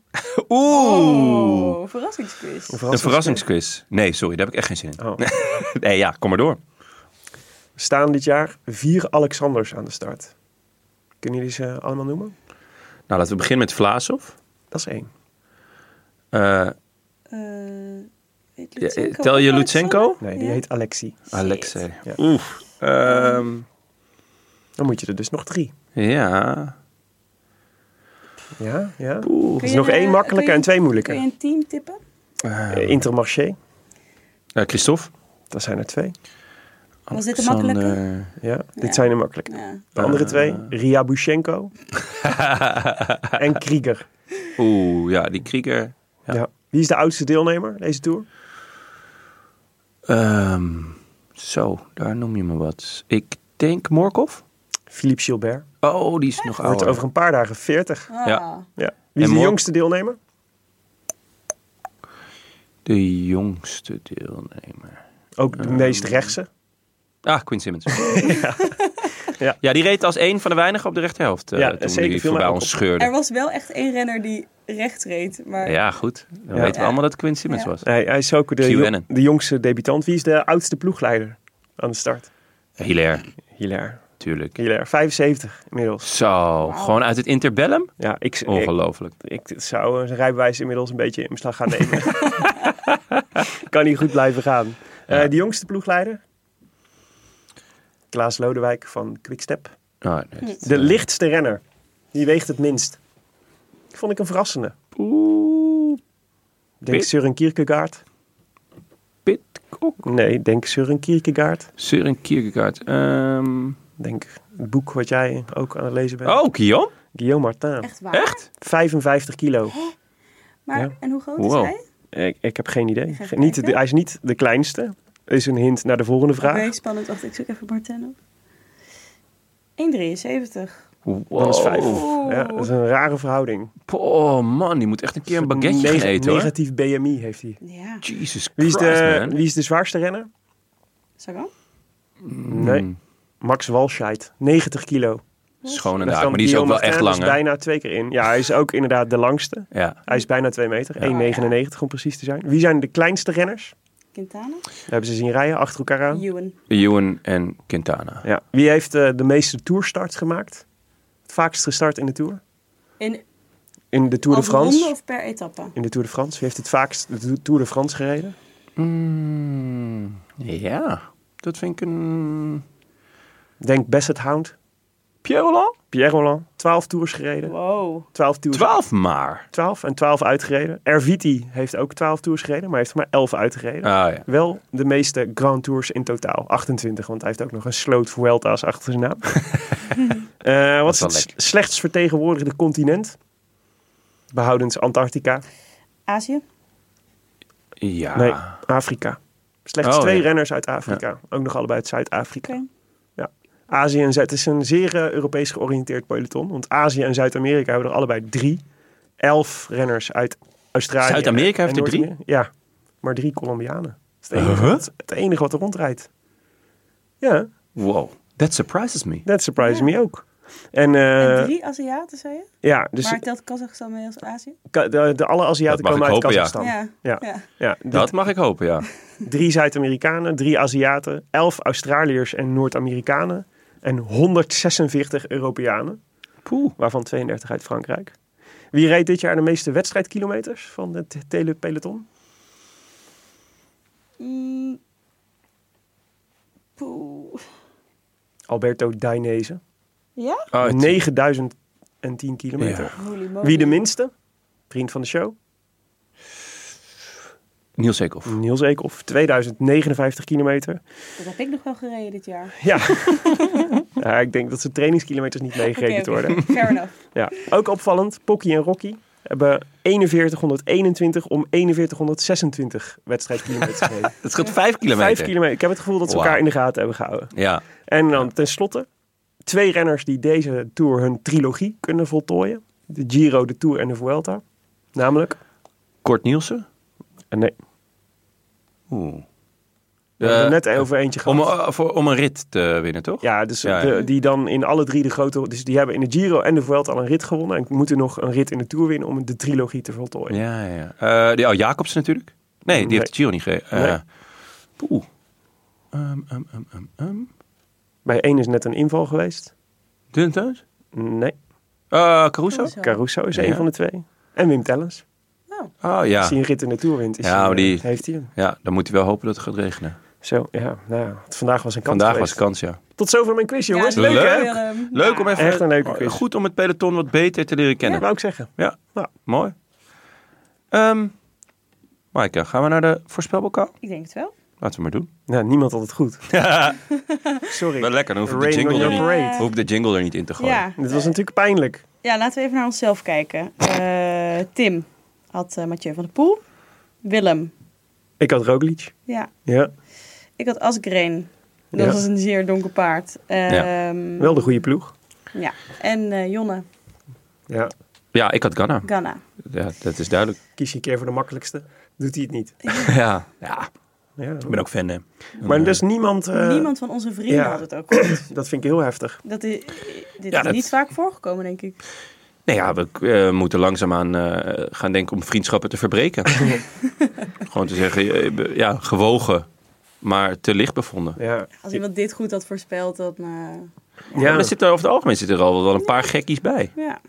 Oeh!
Oh, verrassingsquiz.
Een verrassingsquiz. Nee, sorry, daar heb ik echt geen zin in.
Oh.
<laughs> Nee, ja, kom maar door.
Er staan dit jaar vier Alexanders aan de start. Kunnen jullie ze allemaal noemen?
Nou, laten we beginnen met Vlaasov.
Dat is één.
Eh,
Eh, heet
Ja,
Lutsenko Oh,
tel je
ook
Lutsenko?
Alexander?
Nee, die
Ja.
heet Alexi.
Alexei.
Ja.
Oeh. Ehm,
Dan moet je er dus nog drie.
ja.
Ja, ja.
Oeh.
Kun
Er is
je
nog
de-
één
kun
makkelijker
je-
en twee
Kun
moeilijker.
je een team tippen?
Eh, Intermarché,
Eh, Christophe.
dat zijn er twee.
Was dit een makkelijke?
Alexander.
Ja, dit
Ja.
zijn de makkelijke.
Ja.
De andere
Eh.
twee, Ria
<laughs>
Bushenko en Krieger.
Oeh, ja, die krieger.
Ja. Wie is de oudste deelnemer deze tour?
Ehm, zo, daar noem je me wat. Ik denk Morkov.
Philippe Gilbert.
Oh, die is nog
Wordt
ouder.
over een paar dagen 40.
Ah,
Ja.
Ja. Wie is
En
de
Mor-
jongste deelnemer?
De jongste deelnemer.
Ook
Eh.
de meest rechtse.
Ah, Quinn
<laughs>
Simmons. ja. Ja. die reed als één van de weinigen op de rechterhelft. eh,
Ja,
toen
zeker,
die
viel mij
voorbij
ook
ons
op.
scheurde.
Er was wel echt één renner die recht reed. Maar
Ja, goed. Dan
Ja.
weten we
Ja.
allemaal dat Quinn Simmons
Ja.
was.
Hij, hij is ook de,
QAnon.
de jongste debutant. Wie is de oudste ploegleider aan de start?
Hilaire,
Hilaire.
natuurlijk.
Hilaire, 75 inmiddels.
Zo, gewoon uit het interbellum?
Ja, ik, ik,
Ongelooflijk.
ik zou zijn rijbewijs inmiddels een beetje in beslag gaan nemen. <laughs> kan niet goed blijven gaan. Eh, de jongste ploegleider? Klaas Lodewijk van Quickstep.
Ah, nee, dat-
De lichtste renner. Die weegt het minst. Vond ik een verrassende.
Oeh,
Denk
Pit?
Søren Kierkegaard.
Pitcock.
Nee, denk Søren Kierkegaard.
Søren Kierkegaard. Ehm,
Denk het boek wat jij ook aan het lezen bent.
Oh, Guillaume?
Guillaume Martin.
echt waar.
Echt?
55 kilo.
Maar,
Ja.
En hoe groot
Wow.
is hij?
Ik, ik heb geen idee.
ga
Niet, de-
kijken.
hij is niet de kleinste. Is een hint naar de volgende
Oké,
vraag.
spannend. Wacht, ik zoek even Martin op. 1,73.
Wow.
Dat is vijf.
Oeh.
Ja, dat is een rare verhouding.
Oh man, die moet echt een keer een baguetje
Neg-
gaan eten hoor.
Negatief BMI heeft hij.
Ja,
Jesus Christ,
Wie is, de,
man.
wie is de zwaarste renner?
Sagan?
Hmm.
Nee. Max Walscheid. 90 kilo.
Schoon en daak,
Dat dan
Nou, maar die is ook
Guillaume
wel echt
Martin,
lang
dat
hè?
is bijna twee keer in. Ja, hij is ook inderdaad de langste.
Ja.
Hij is bijna 2 meter, 1,99 om precies te zijn. Wie zijn de kleinste renners?
Quintana?
We hebben ze zien rijden achter elkaar aan.
Ewan.
Ewan en Quintana.
Ja. Wie heeft eh, de meeste tourstarts gemaakt? Het vaakst gestart in de Tour?
In
In de Tour
als
de France?
ronde of per etappe?
In de Tour de France. Wie heeft het vaakst de Tour- Tour de France gereden?
Mm, ja, dat vind ik een...
Denk Basset Hound.
Pierre Roland?
Pierre Roland, 12 tours gereden.
Wow.
12 tours.
12 maar.
12 en 12 uitgereden. Erviti heeft ook 12 tours gereden, maar heeft er maar 11 uitgereden.
Ah, ja.
Wel de meeste Grand Tours in totaal. 28, want hij heeft ook nog een sloot Vuelta's achter zijn
<laughs>
naam. Eh, wat is
wel
het
lekker.
slechts vertegenwoordigde continent? Behoudens Antarctica.
Azië?
ja.
Nee, Afrika. Slechts
Ah. Oh,
twee
ja.
renners uit Afrika. Ook nog allebei uit Zuid-Afrika.
Oké.
Ja. Azië en Zuid. Het is een zeer eh, Europees georiënteerd peloton. Want Azië en Zuid-Amerika hebben er allebei drie. Elf renners uit Australië.
Zuid-Amerika
en-
heeft
en
er drie?
Noord-Amerika. Ja, maar drie Colombianen. Dat is het enige,
Huh?
wat, het enige wat er rondrijdt. Ja,
Wow, that surprises me.
that surprises me ook. En, eh,
en drie Aziaten, zei je?
ja, dus
maar telt Kazachstan mee als Azië?
ka- de, de alle
Dat
Aziaten
mag
komen uit
ik hopen, ja.
Kazachstan.
Ja.
Ja.
ja.
Ja,
Dat mag ik hopen, ja.
drie Zuid-Amerikanen, drie Aziaten, elf Australiërs en Noord-Amerikanen en 146 Europeanen,
Poeh.
waarvan 32 uit Frankrijk. Wie reed dit jaar de meeste wedstrijdkilometers van het telepeloton?
Mm. Poeh.
Alberto Dainese.
Ja?
Oh, het-
9010 kilometer.
Holy moly.
Wie de minste? Vriend van de show.
Niels Eekhoff.
Niels Eekhoff. 2059 kilometer.
Dat heb ik nog wel gereden dit jaar. <laughs>
Ja. ja, ik denk dat zijn trainingskilometers niet meegerekend
Oké, oké.
worden.
Fair enough.
Ja, ook opvallend. Pocky en Rocky hebben 4121 om 4126 wedstrijdkilometers
<laughs>
gereden.
Het scheelt vijf kilometer.
Vijf kilometer. Ik heb het gevoel dat ze elkaar
Wauw.
in de gaten hebben gehouden.
Ja.
En dan tenslotte twee renners die deze Tour hun trilogie kunnen voltooien. De Giro, de Tour en de Vuelta. Namelijk...
Kort Nielsen?
eh, Nee,
Oeh.
we hebben
Eh,
er net over eentje gehad.
Om, eh, voor, om een rit te winnen, toch?
Ja, dus
Ja,
de-
ja.
die dan in alle drie de grote... Dus die hebben in de Giro en de Vuelta al een rit gewonnen. En moeten nog een rit in de Tour winnen om de trilogie te voltooien.
Ja, ja. Eh, die, oh, Jacobs natuurlijk. Nee, die
Nee.
heeft de Giro niet gegeven.
Nee.
Poeh. Um, um, um, um, um.
Bij één is net een inval geweest.
Dylan Teuns?
Nee.
Eh, Caruso?
Caruso.
Caruso is
Ja.
één van de twee. En Wim Tellens.
Oh
Als hij
ja.
een rit in de Tour wint, is
Ja,
hij,
maar die-
eh, heeft hij hem.
Ja, dan moet hij wel hopen dat het gaat regenen.
Zo, ja. Nou, ja, het- vandaag was een kans
Vandaag was
geweest.
de kans, ja.
Tot zover mijn quiz, jongens.
Ja,
Leuk,
leuk.
hè?
Willem.
Leuk om even...
Echt een leuke quiz.
Goed om het peloton wat beter te leren
Dat
kennen.
wou ik zeggen.
Ja, nou,
Ja.
mooi. Ehm Maaike, gaan we naar de voorspelbokaal?
Ik denk het wel.
Laten we maar doen.
Nou, niemand had het goed. <laughs> Sorry.
Wel lekker, dan hoef ik de
Rain on
jingle er
your
niet,
parade.
hoef ik de jingle er niet in te gooien.
Ja.
Dit was natuurlijk pijnlijk.
ja, laten we even naar onszelf kijken. Eh, Tim had eh, Mathieu van der Poel. Willem.
Ik had Roglic.
Ja.
Ja,
Ik had Asgreen. Dat
Ja.
was een zeer donker paard.
Ja.
Ehm,
wel de goede ploeg.
Ja. En eh, Jonne
Ja.
Ja, ik had Ganna.
Ganna.
Ja, dat is duidelijk.
Kies je een keer voor de makkelijkste. Doet hij het niet.
<laughs> ja. ja,
Ja.
ik ben ook fan. Hè.
Maar dus niemand... eh,
Niemand van onze vrienden
ja.
had het ook goed.
Dat vind ik heel heftig.
Dat is, dit
Ja,
is
dat-
niet vaak voorgekomen, denk ik.
Nee, ja, we eh, moeten langzaamaan eh gaan denken om vriendschappen te <laughs> verbreken. Gewoon te zeggen, eh, ja, gewogen, maar te licht bevonden.
Ja.
Als iemand dit goed had voorspeld, eh, dat me...
Ja.
Ja.
Er zitten over het algemeen zitten er al wel een paar gekkies bij.
Ja.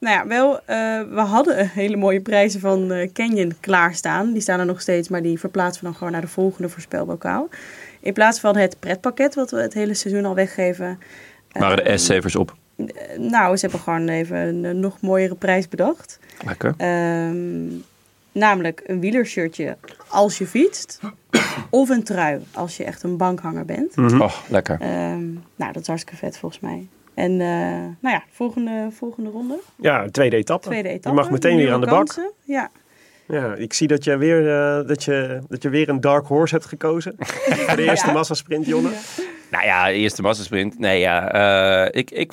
Nou ja, wel, eh, we hadden hele mooie prijzen van eh Canyon klaarstaan. Die staan er nog steeds, maar die verplaatsen we dan gewoon naar de volgende voorspelbokaal. In plaats van het pretpakket, wat we het hele seizoen al weggeven. eh,
Waren de S-savers op.
eh, nou, ze hebben gewoon even een eh, nog mooiere prijs bedacht.
Lekker.
Ehm, namelijk een wielershirtje als je fietst. Of een trui als je echt een bankhanger bent.
Oh, lekker.
Ehm, nou, dat is hartstikke vet volgens mij. En eh, nou ja, volgende, volgende ronde.
ja, tweede etappe.
Tweede etappe.
Je mag meteen
nieuwe
weer aan de bak.
kansen. Ja.
Ja, ik zie dat je weer, eh, dat je, dat je weer een dark horse hebt
<laughs>
gekozen. Voor de eerste
Ja.
massasprint, Jonne.
Nou ja, de eerste massasprint. Nee, ja, eh, ik, ik,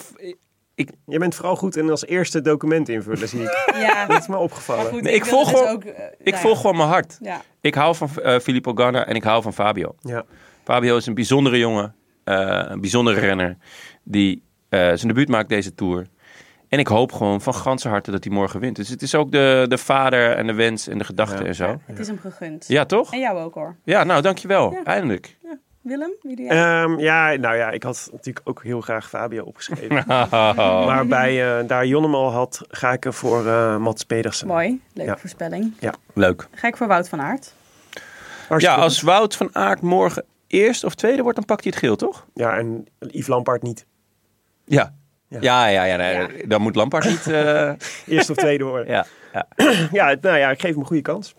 ik,
Je bent vooral goed in als eerste document invullen, zie ik. Dat
ja.
is me opgevallen. <laughs>
Maar goed,
Nee, ik
ik, wil
volg
het dus
gewoon-
ook. eh, nou
ik
ja.
volg gewoon mijn hart.
Ja.
Ik hou van eh, Filippo Ganna en ik hou van Fabio.
Ja.
Fabio is een bijzondere jongen, eh, een bijzondere renner die eh, zijn debuut maakt deze Tour. En ik hoop gewoon van ganse harte dat hij morgen wint. Dus het is ook de, de vader en de wens en de gedachte
Ja.
en zo.
Het is hem gegund.
Ja, toch?
En jou ook hoor.
Ja, nou, dankjewel. Eindelijk.
Willem, wie doe jij?
Ehm, ja, nou ja, ik had natuurlijk ook heel graag Fabio
<laughs>
opgeschreven.
Oh.
Maar bij eh, daar Jonne hem al had, ga ik er voor eh, Mats Pedersen.
Mooi, leuke
Ja.
voorspelling.
Leuk.
Ga ik voor Wout van Aert.
Ja,
Hartstikke goed.
als Wout van Aert morgen eerst of tweede wordt, dan pakt hij het geel, toch?
ja, en Yves Lampaard niet.
Ja. Ja, ja, ja. nee, Dan moet Lampaard niet... eh,
Eerst of tweede
<laughs>
hoor.
ja, ja.
Ja, het- nou ja, ik geef hem een goede kans.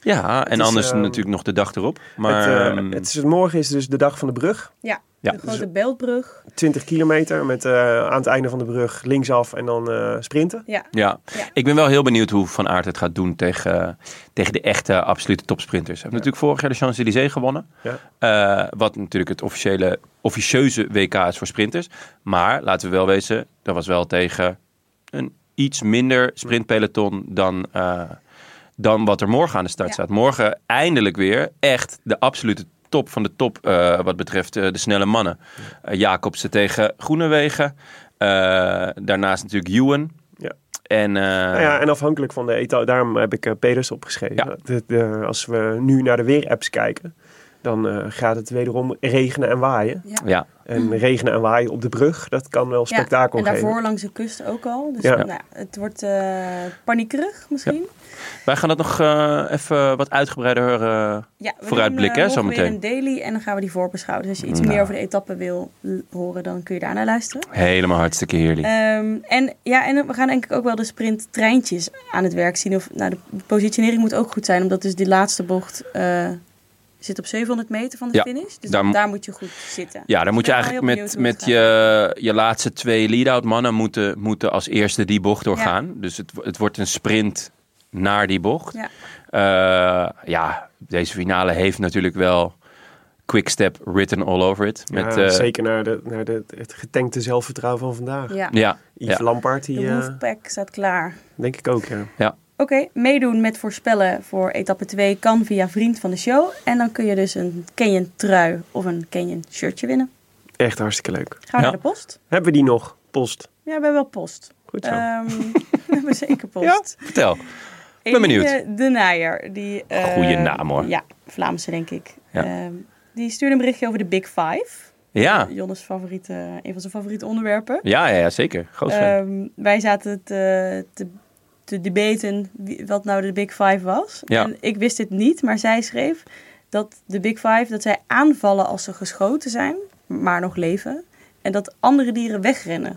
ja, en
is,
anders
ehm,
natuurlijk nog de dag erop. Maar
het, eh,
ehm,
het is, morgen is dus de dag van de brug.
Ja,
Ja.
de grote Beltbrug.
20 kilometer met eh, aan het einde van de brug linksaf en dan eh, sprinten.
Ja.
ja.
Ja.
ik ben wel heel benieuwd hoe Van Aert het gaat doen tegen, eh, tegen de echte absolute topsprinters. Hij heeft natuurlijk vorig jaar de Champs-Élysées gewonnen.
Ja.
Eh, wat natuurlijk het officiële, officieuze WK is voor sprinters. Maar laten we wel wezen, dat was wel tegen een iets minder sprintpeloton dan, eh, dan wat er morgen aan de start
Ja.
staat. Morgen eindelijk weer echt de absolute top van de top eh, wat betreft eh, de snelle mannen. Eh, Jacobsen tegen Groenewegen. Eh, daarnaast natuurlijk Ewan.
Ja.
En, eh,
Nou ja, en afhankelijk van de etappe, daarom heb ik eh, Peders opgeschreven.
Ja.
De- de- als we nu naar de weerapps kijken, dan eh, gaat het wederom regenen en waaien.
ja.
En regenen en waaien op de brug, dat kan wel spektakel
Mm. ja, en
geven.
daarvoor langs de kust ook al. Dus
Ja.
nou, ja, het wordt eh, paniekerig misschien.
Wij gaan dat nog eh, even wat uitgebreider eh,
Ja, we
Vooruitblik,
doen,
hè,
eh, morgen
zometeen.
weer een daily en dan gaan we die voorbeschouwen. Dus als je iets meer over de etappe wil l- horen, dan kun je daarna luisteren.
helemaal hartstikke heerlijk.
Ehm, en, ja, en we gaan denk ik ook wel de sprinttreintjes aan het werk zien. Of, nou, de positionering moet ook goed zijn, omdat dus die laatste bocht eh, zit op 700 meter van de
Ja,
finish. Dus
daar
daar,
mo-
moet je goed zitten.
Ja, dan moet je
ben wel
eigenlijk
heel
met,
benieuwd
met
hoe het
je, je laatste twee lead-out mannen moeten, moeten als eerste die bocht doorgaan. Dus het, het wordt een sprint naar die bocht.
Ja.
Ja, ja deze finale heeft natuurlijk wel quickstep written all over it. Met,
Ja,
eh,
zeker naar, de, naar de, het getankte zelfvertrouwen van vandaag.
Ja,
eh, Ja,
Yves
ja,
Lampaard, die,
de
eh,
movepack staat klaar.
denk ik ook. Ja.
ja.
Oké, meedoen met voorspellen voor etappe 2 kan via vriend van de show. En dan kun je dus een Canyon trui of een Canyon shirtje winnen.
Echt hartstikke leuk.
Gaan we
Ja.
naar de post?
Hebben we die nog? Post.
Ja, we hebben wel post.
Goed zo.
Ehm, <laughs> we hebben zeker post.
Vertel.
Ik
ben benieuwd.
De Naaier. Die, eh,
Goeie naam, hoor.
Ja, Vlaamse denk ik.
Ja.
Ehm, die stuurde een berichtje over de Big Five.
Ja,
Jonnes favoriete, eh, een van zijn favoriete onderwerpen.
Ah. ja, ja, ja zeker. Groot fan.
Ehm, wij zaten te, te, te debaten wie- wat nou de Big Five was.
Ja.
En ik wist dit niet, maar zij schreef dat de Big Five, dat zij aanvallen als ze geschoten zijn, maar nog leven. En dat andere dieren wegrennen.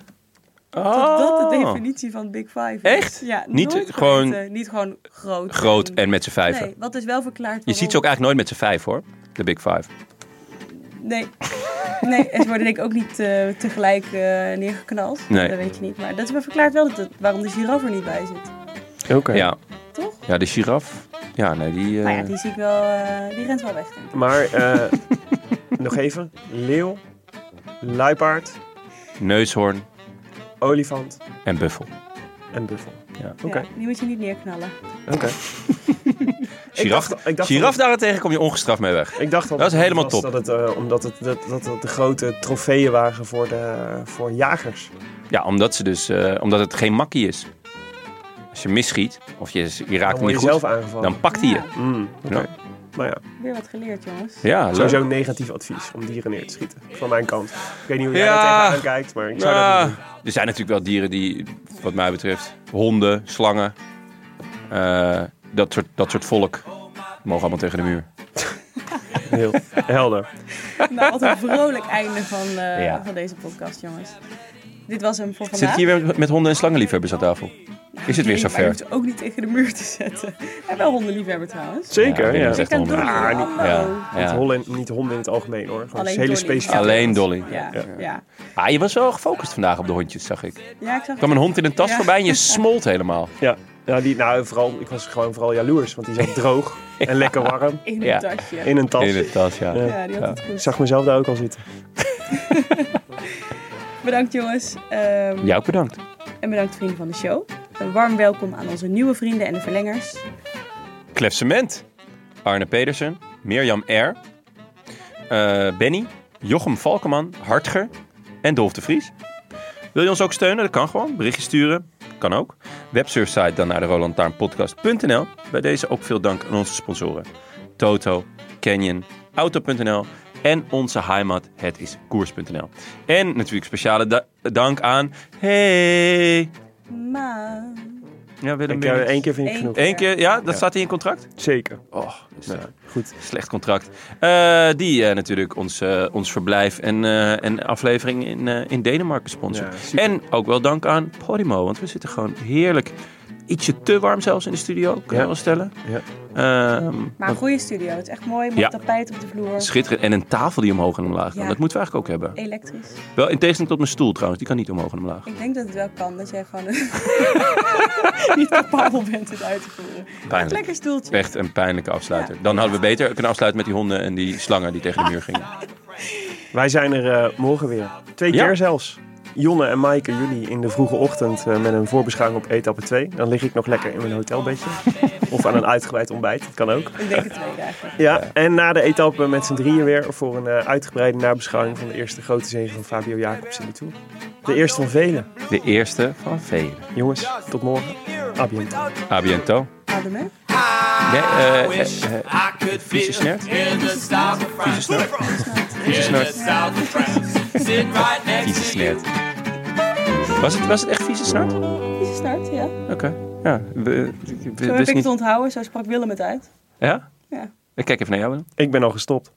Dat
Oh.
dat de definitie van Big Five is.
Echt?
Ja,
Niet
nooit
gewoon-
geweten, niet gewoon groot.
Groot en met z'n vijven.
Nee, wat is wel verklaard
Je ziet ze ook eigenlijk nooit met z'n vijf hoor. De big five.
Nee. Nee, en ze worden denk ik ook niet eh, tegelijk eh, neergeknald.
Nee.
Dat weet je niet. Maar dat is wel verklaard wel dat het, waarom de giraf er niet bij zit.
Eh.
Oké.
Ja.
Toch?
ja, de giraf. Ja, nee, die... eh,
Nou ja, die zie ik wel, eh, die rent wel weg. denk ik.
Maar eh, <laughs> nog even. Leeuw, luipaard,
Neushoorn
olifant
en buffel.
en buffel.
Ja.
Oké.
Ja, die moet je niet neerknallen.
Oké.
Giraf,
dacht- ik dacht
giraf
dat-
daarentegen kom je ongestraft mee weg.
Ik dacht al
Dat is
het
helemaal
was
top.
Dat het, eh, omdat het, dat, dat het de grote trofeeën waren voor, de, voor jagers.
Ja, omdat, ze dus, eh, omdat het geen makkie is. Als je misschiet, of je, je raakt hem
Dan word
niet
je
goed,
zelf aangevallen.
dan pakt hij je.
Ja,
Mm, oké.
Ja.
Maar ja,
weer wat geleerd, jongens.
<laughs> Ja, leuk.
sowieso een negatief advies om dieren neer te schieten. Van mijn kant. Ik weet niet hoe jij
Ja.
daar tegenaan kijkt, maar ik zou
Ja,
dat niet doen.
er zijn natuurlijk wel dieren die, wat mij betreft, honden, slangen, eh, dat, soort, dat soort volk, mogen allemaal tegen de muur. <laughs>
Heel helder.
Nou, wat een vrolijk einde van, eh,
Ja.
van deze podcast, jongens. Dit was hem voor
Zit
vandaag.
het hier weer met honden en slangenliefhebbers aan tafel? Is het weer
Nee, maar je
zover?
hoeft ze ook niet tegen de muur te zetten. En wel hondenliefhebber trouwens.
Zeker, ja.
dat is echt
kan
honden.
doen,
Ah, niet-
hallo.
ja,
Niet,
ja.
honden, niet honden in het algemeen hoor. Gewoon
Alleen
hele
Dolly.
specifieke.
Alleen Dolly.
Ja, ja. ja.
Ah, je was wel gefocust vandaag op de hondjes, zag ik. Er
ja ik zag
kwam een hond in een tas
Ja.
voorbij en je smolt helemaal.
Ja. Ja, die, nou, vooral, ik was gewoon vooral jaloers, want die zat
<laughs>
droog en lekker warm
in een
Ja.
tasje.
in een tas.
<laughs> In de tas, ja.
Ja, die had het
Ik
goed.
zag mezelf daar ook al zitten.
Bedankt jongens. Ehm,
Jou ook bedankt.
En bedankt vrienden van de show. Een warm welkom aan onze nieuwe vrienden en de verlengers.
Klef Cement, Arne Pedersen, Mirjam R, eh, Benny, Jochem Valkeman, Hartger en Dolf de Vries. Wil je ons ook steunen? Dat kan gewoon. Berichtje sturen. Kan ook. Websurfsite dan naar de rolandtaarnpodcast.nl. Bij deze ook veel dank aan onze sponsoren. Toto, Canyon, Auto.nl en onze heimat, het is koers.nl. En natuurlijk speciale da- dank aan... Hey!
Maar...
Ja, Willem
Ik,
Wilmink.
eh, één keer vind ik
Eén
genoeg.
Eén keer, ja, dat
Ja.
staat hij in contract?
Zeker.
Oh, nee,
Goed.
slecht contract. Eh, die eh, natuurlijk ons, eh, ons verblijf en, eh, en aflevering in, eh, in Denemarken sponsoren.
Ja, super.
en ook wel dank aan Podimo, want we zitten gewoon heerlijk. Ietsje te warm zelfs in de studio, kan je
Ja.
wel stellen.
Ja.
Ehm,
Maar een goede studio. Het is echt mooi. Mooi
Ja.
tapijt op de vloer.
schitterend. En een tafel die omhoog en omlaag kan.
Ja.
Dat moeten we eigenlijk ook hebben.
Elektrisch.
Wel in tegenstelling tot mijn stoel trouwens, die kan niet omhoog en omlaag.
Ik denk dat het wel kan. Dat jij gewoon <laughs> niet capabel bent het uit te voeren.
Pijnlijk.
Lekker stoeltje.
Echt een pijnlijke afsluiter. Dan hadden we beter kunnen afsluiten met die honden en die slangen die tegen de muur gingen.
Wij zijn er eh, morgen weer. Twee
Ja.
keer zelfs. Jonne en Maaike, jullie in de vroege ochtend eh, met een voorbeschouwing op etappe 2. Dan lig ik nog lekker in mijn hotelbedje. of aan een uitgebreid ontbijt, dat kan ook.
Ik denk het tweede eigenlijk.
Ja, en na de etappe met z'n drieën weer voor een eh, uitgebreide nabeschouwing van de eerste grote zege van Fabio Jacobs in de Tour. De eerste van velen.
De eerste van velen.
Jongens, tot morgen. Abien.
A biento.
Adem hè?
Nee, eh, eh, eh,
I could
Vieze snert?
in the south of France.
Vieze
In the
snert.
south of France. Sit right next
Vieze
to you.
snert. Was het, was het echt vieze snert? Oké,
Is het start, ja.
ja. We, we- we-
Zo heb
wist
ik het
niet.
onthouden. Zo sprak Willem het uit.
Ja?
Ja.
Ik kijk even naar jou. Willem.
Ik ben al gestopt.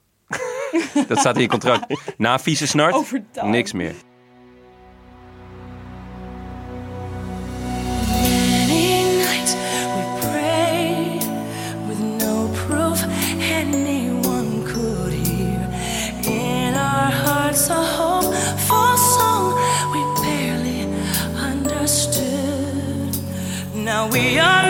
Dat staat in je
<laughs>
contract. Na vieze snert,
Overdag.
niks meer.
Many nights we prayed with no proof anyone could hear. In our hearts, a hopeful song we barely understood. Now we are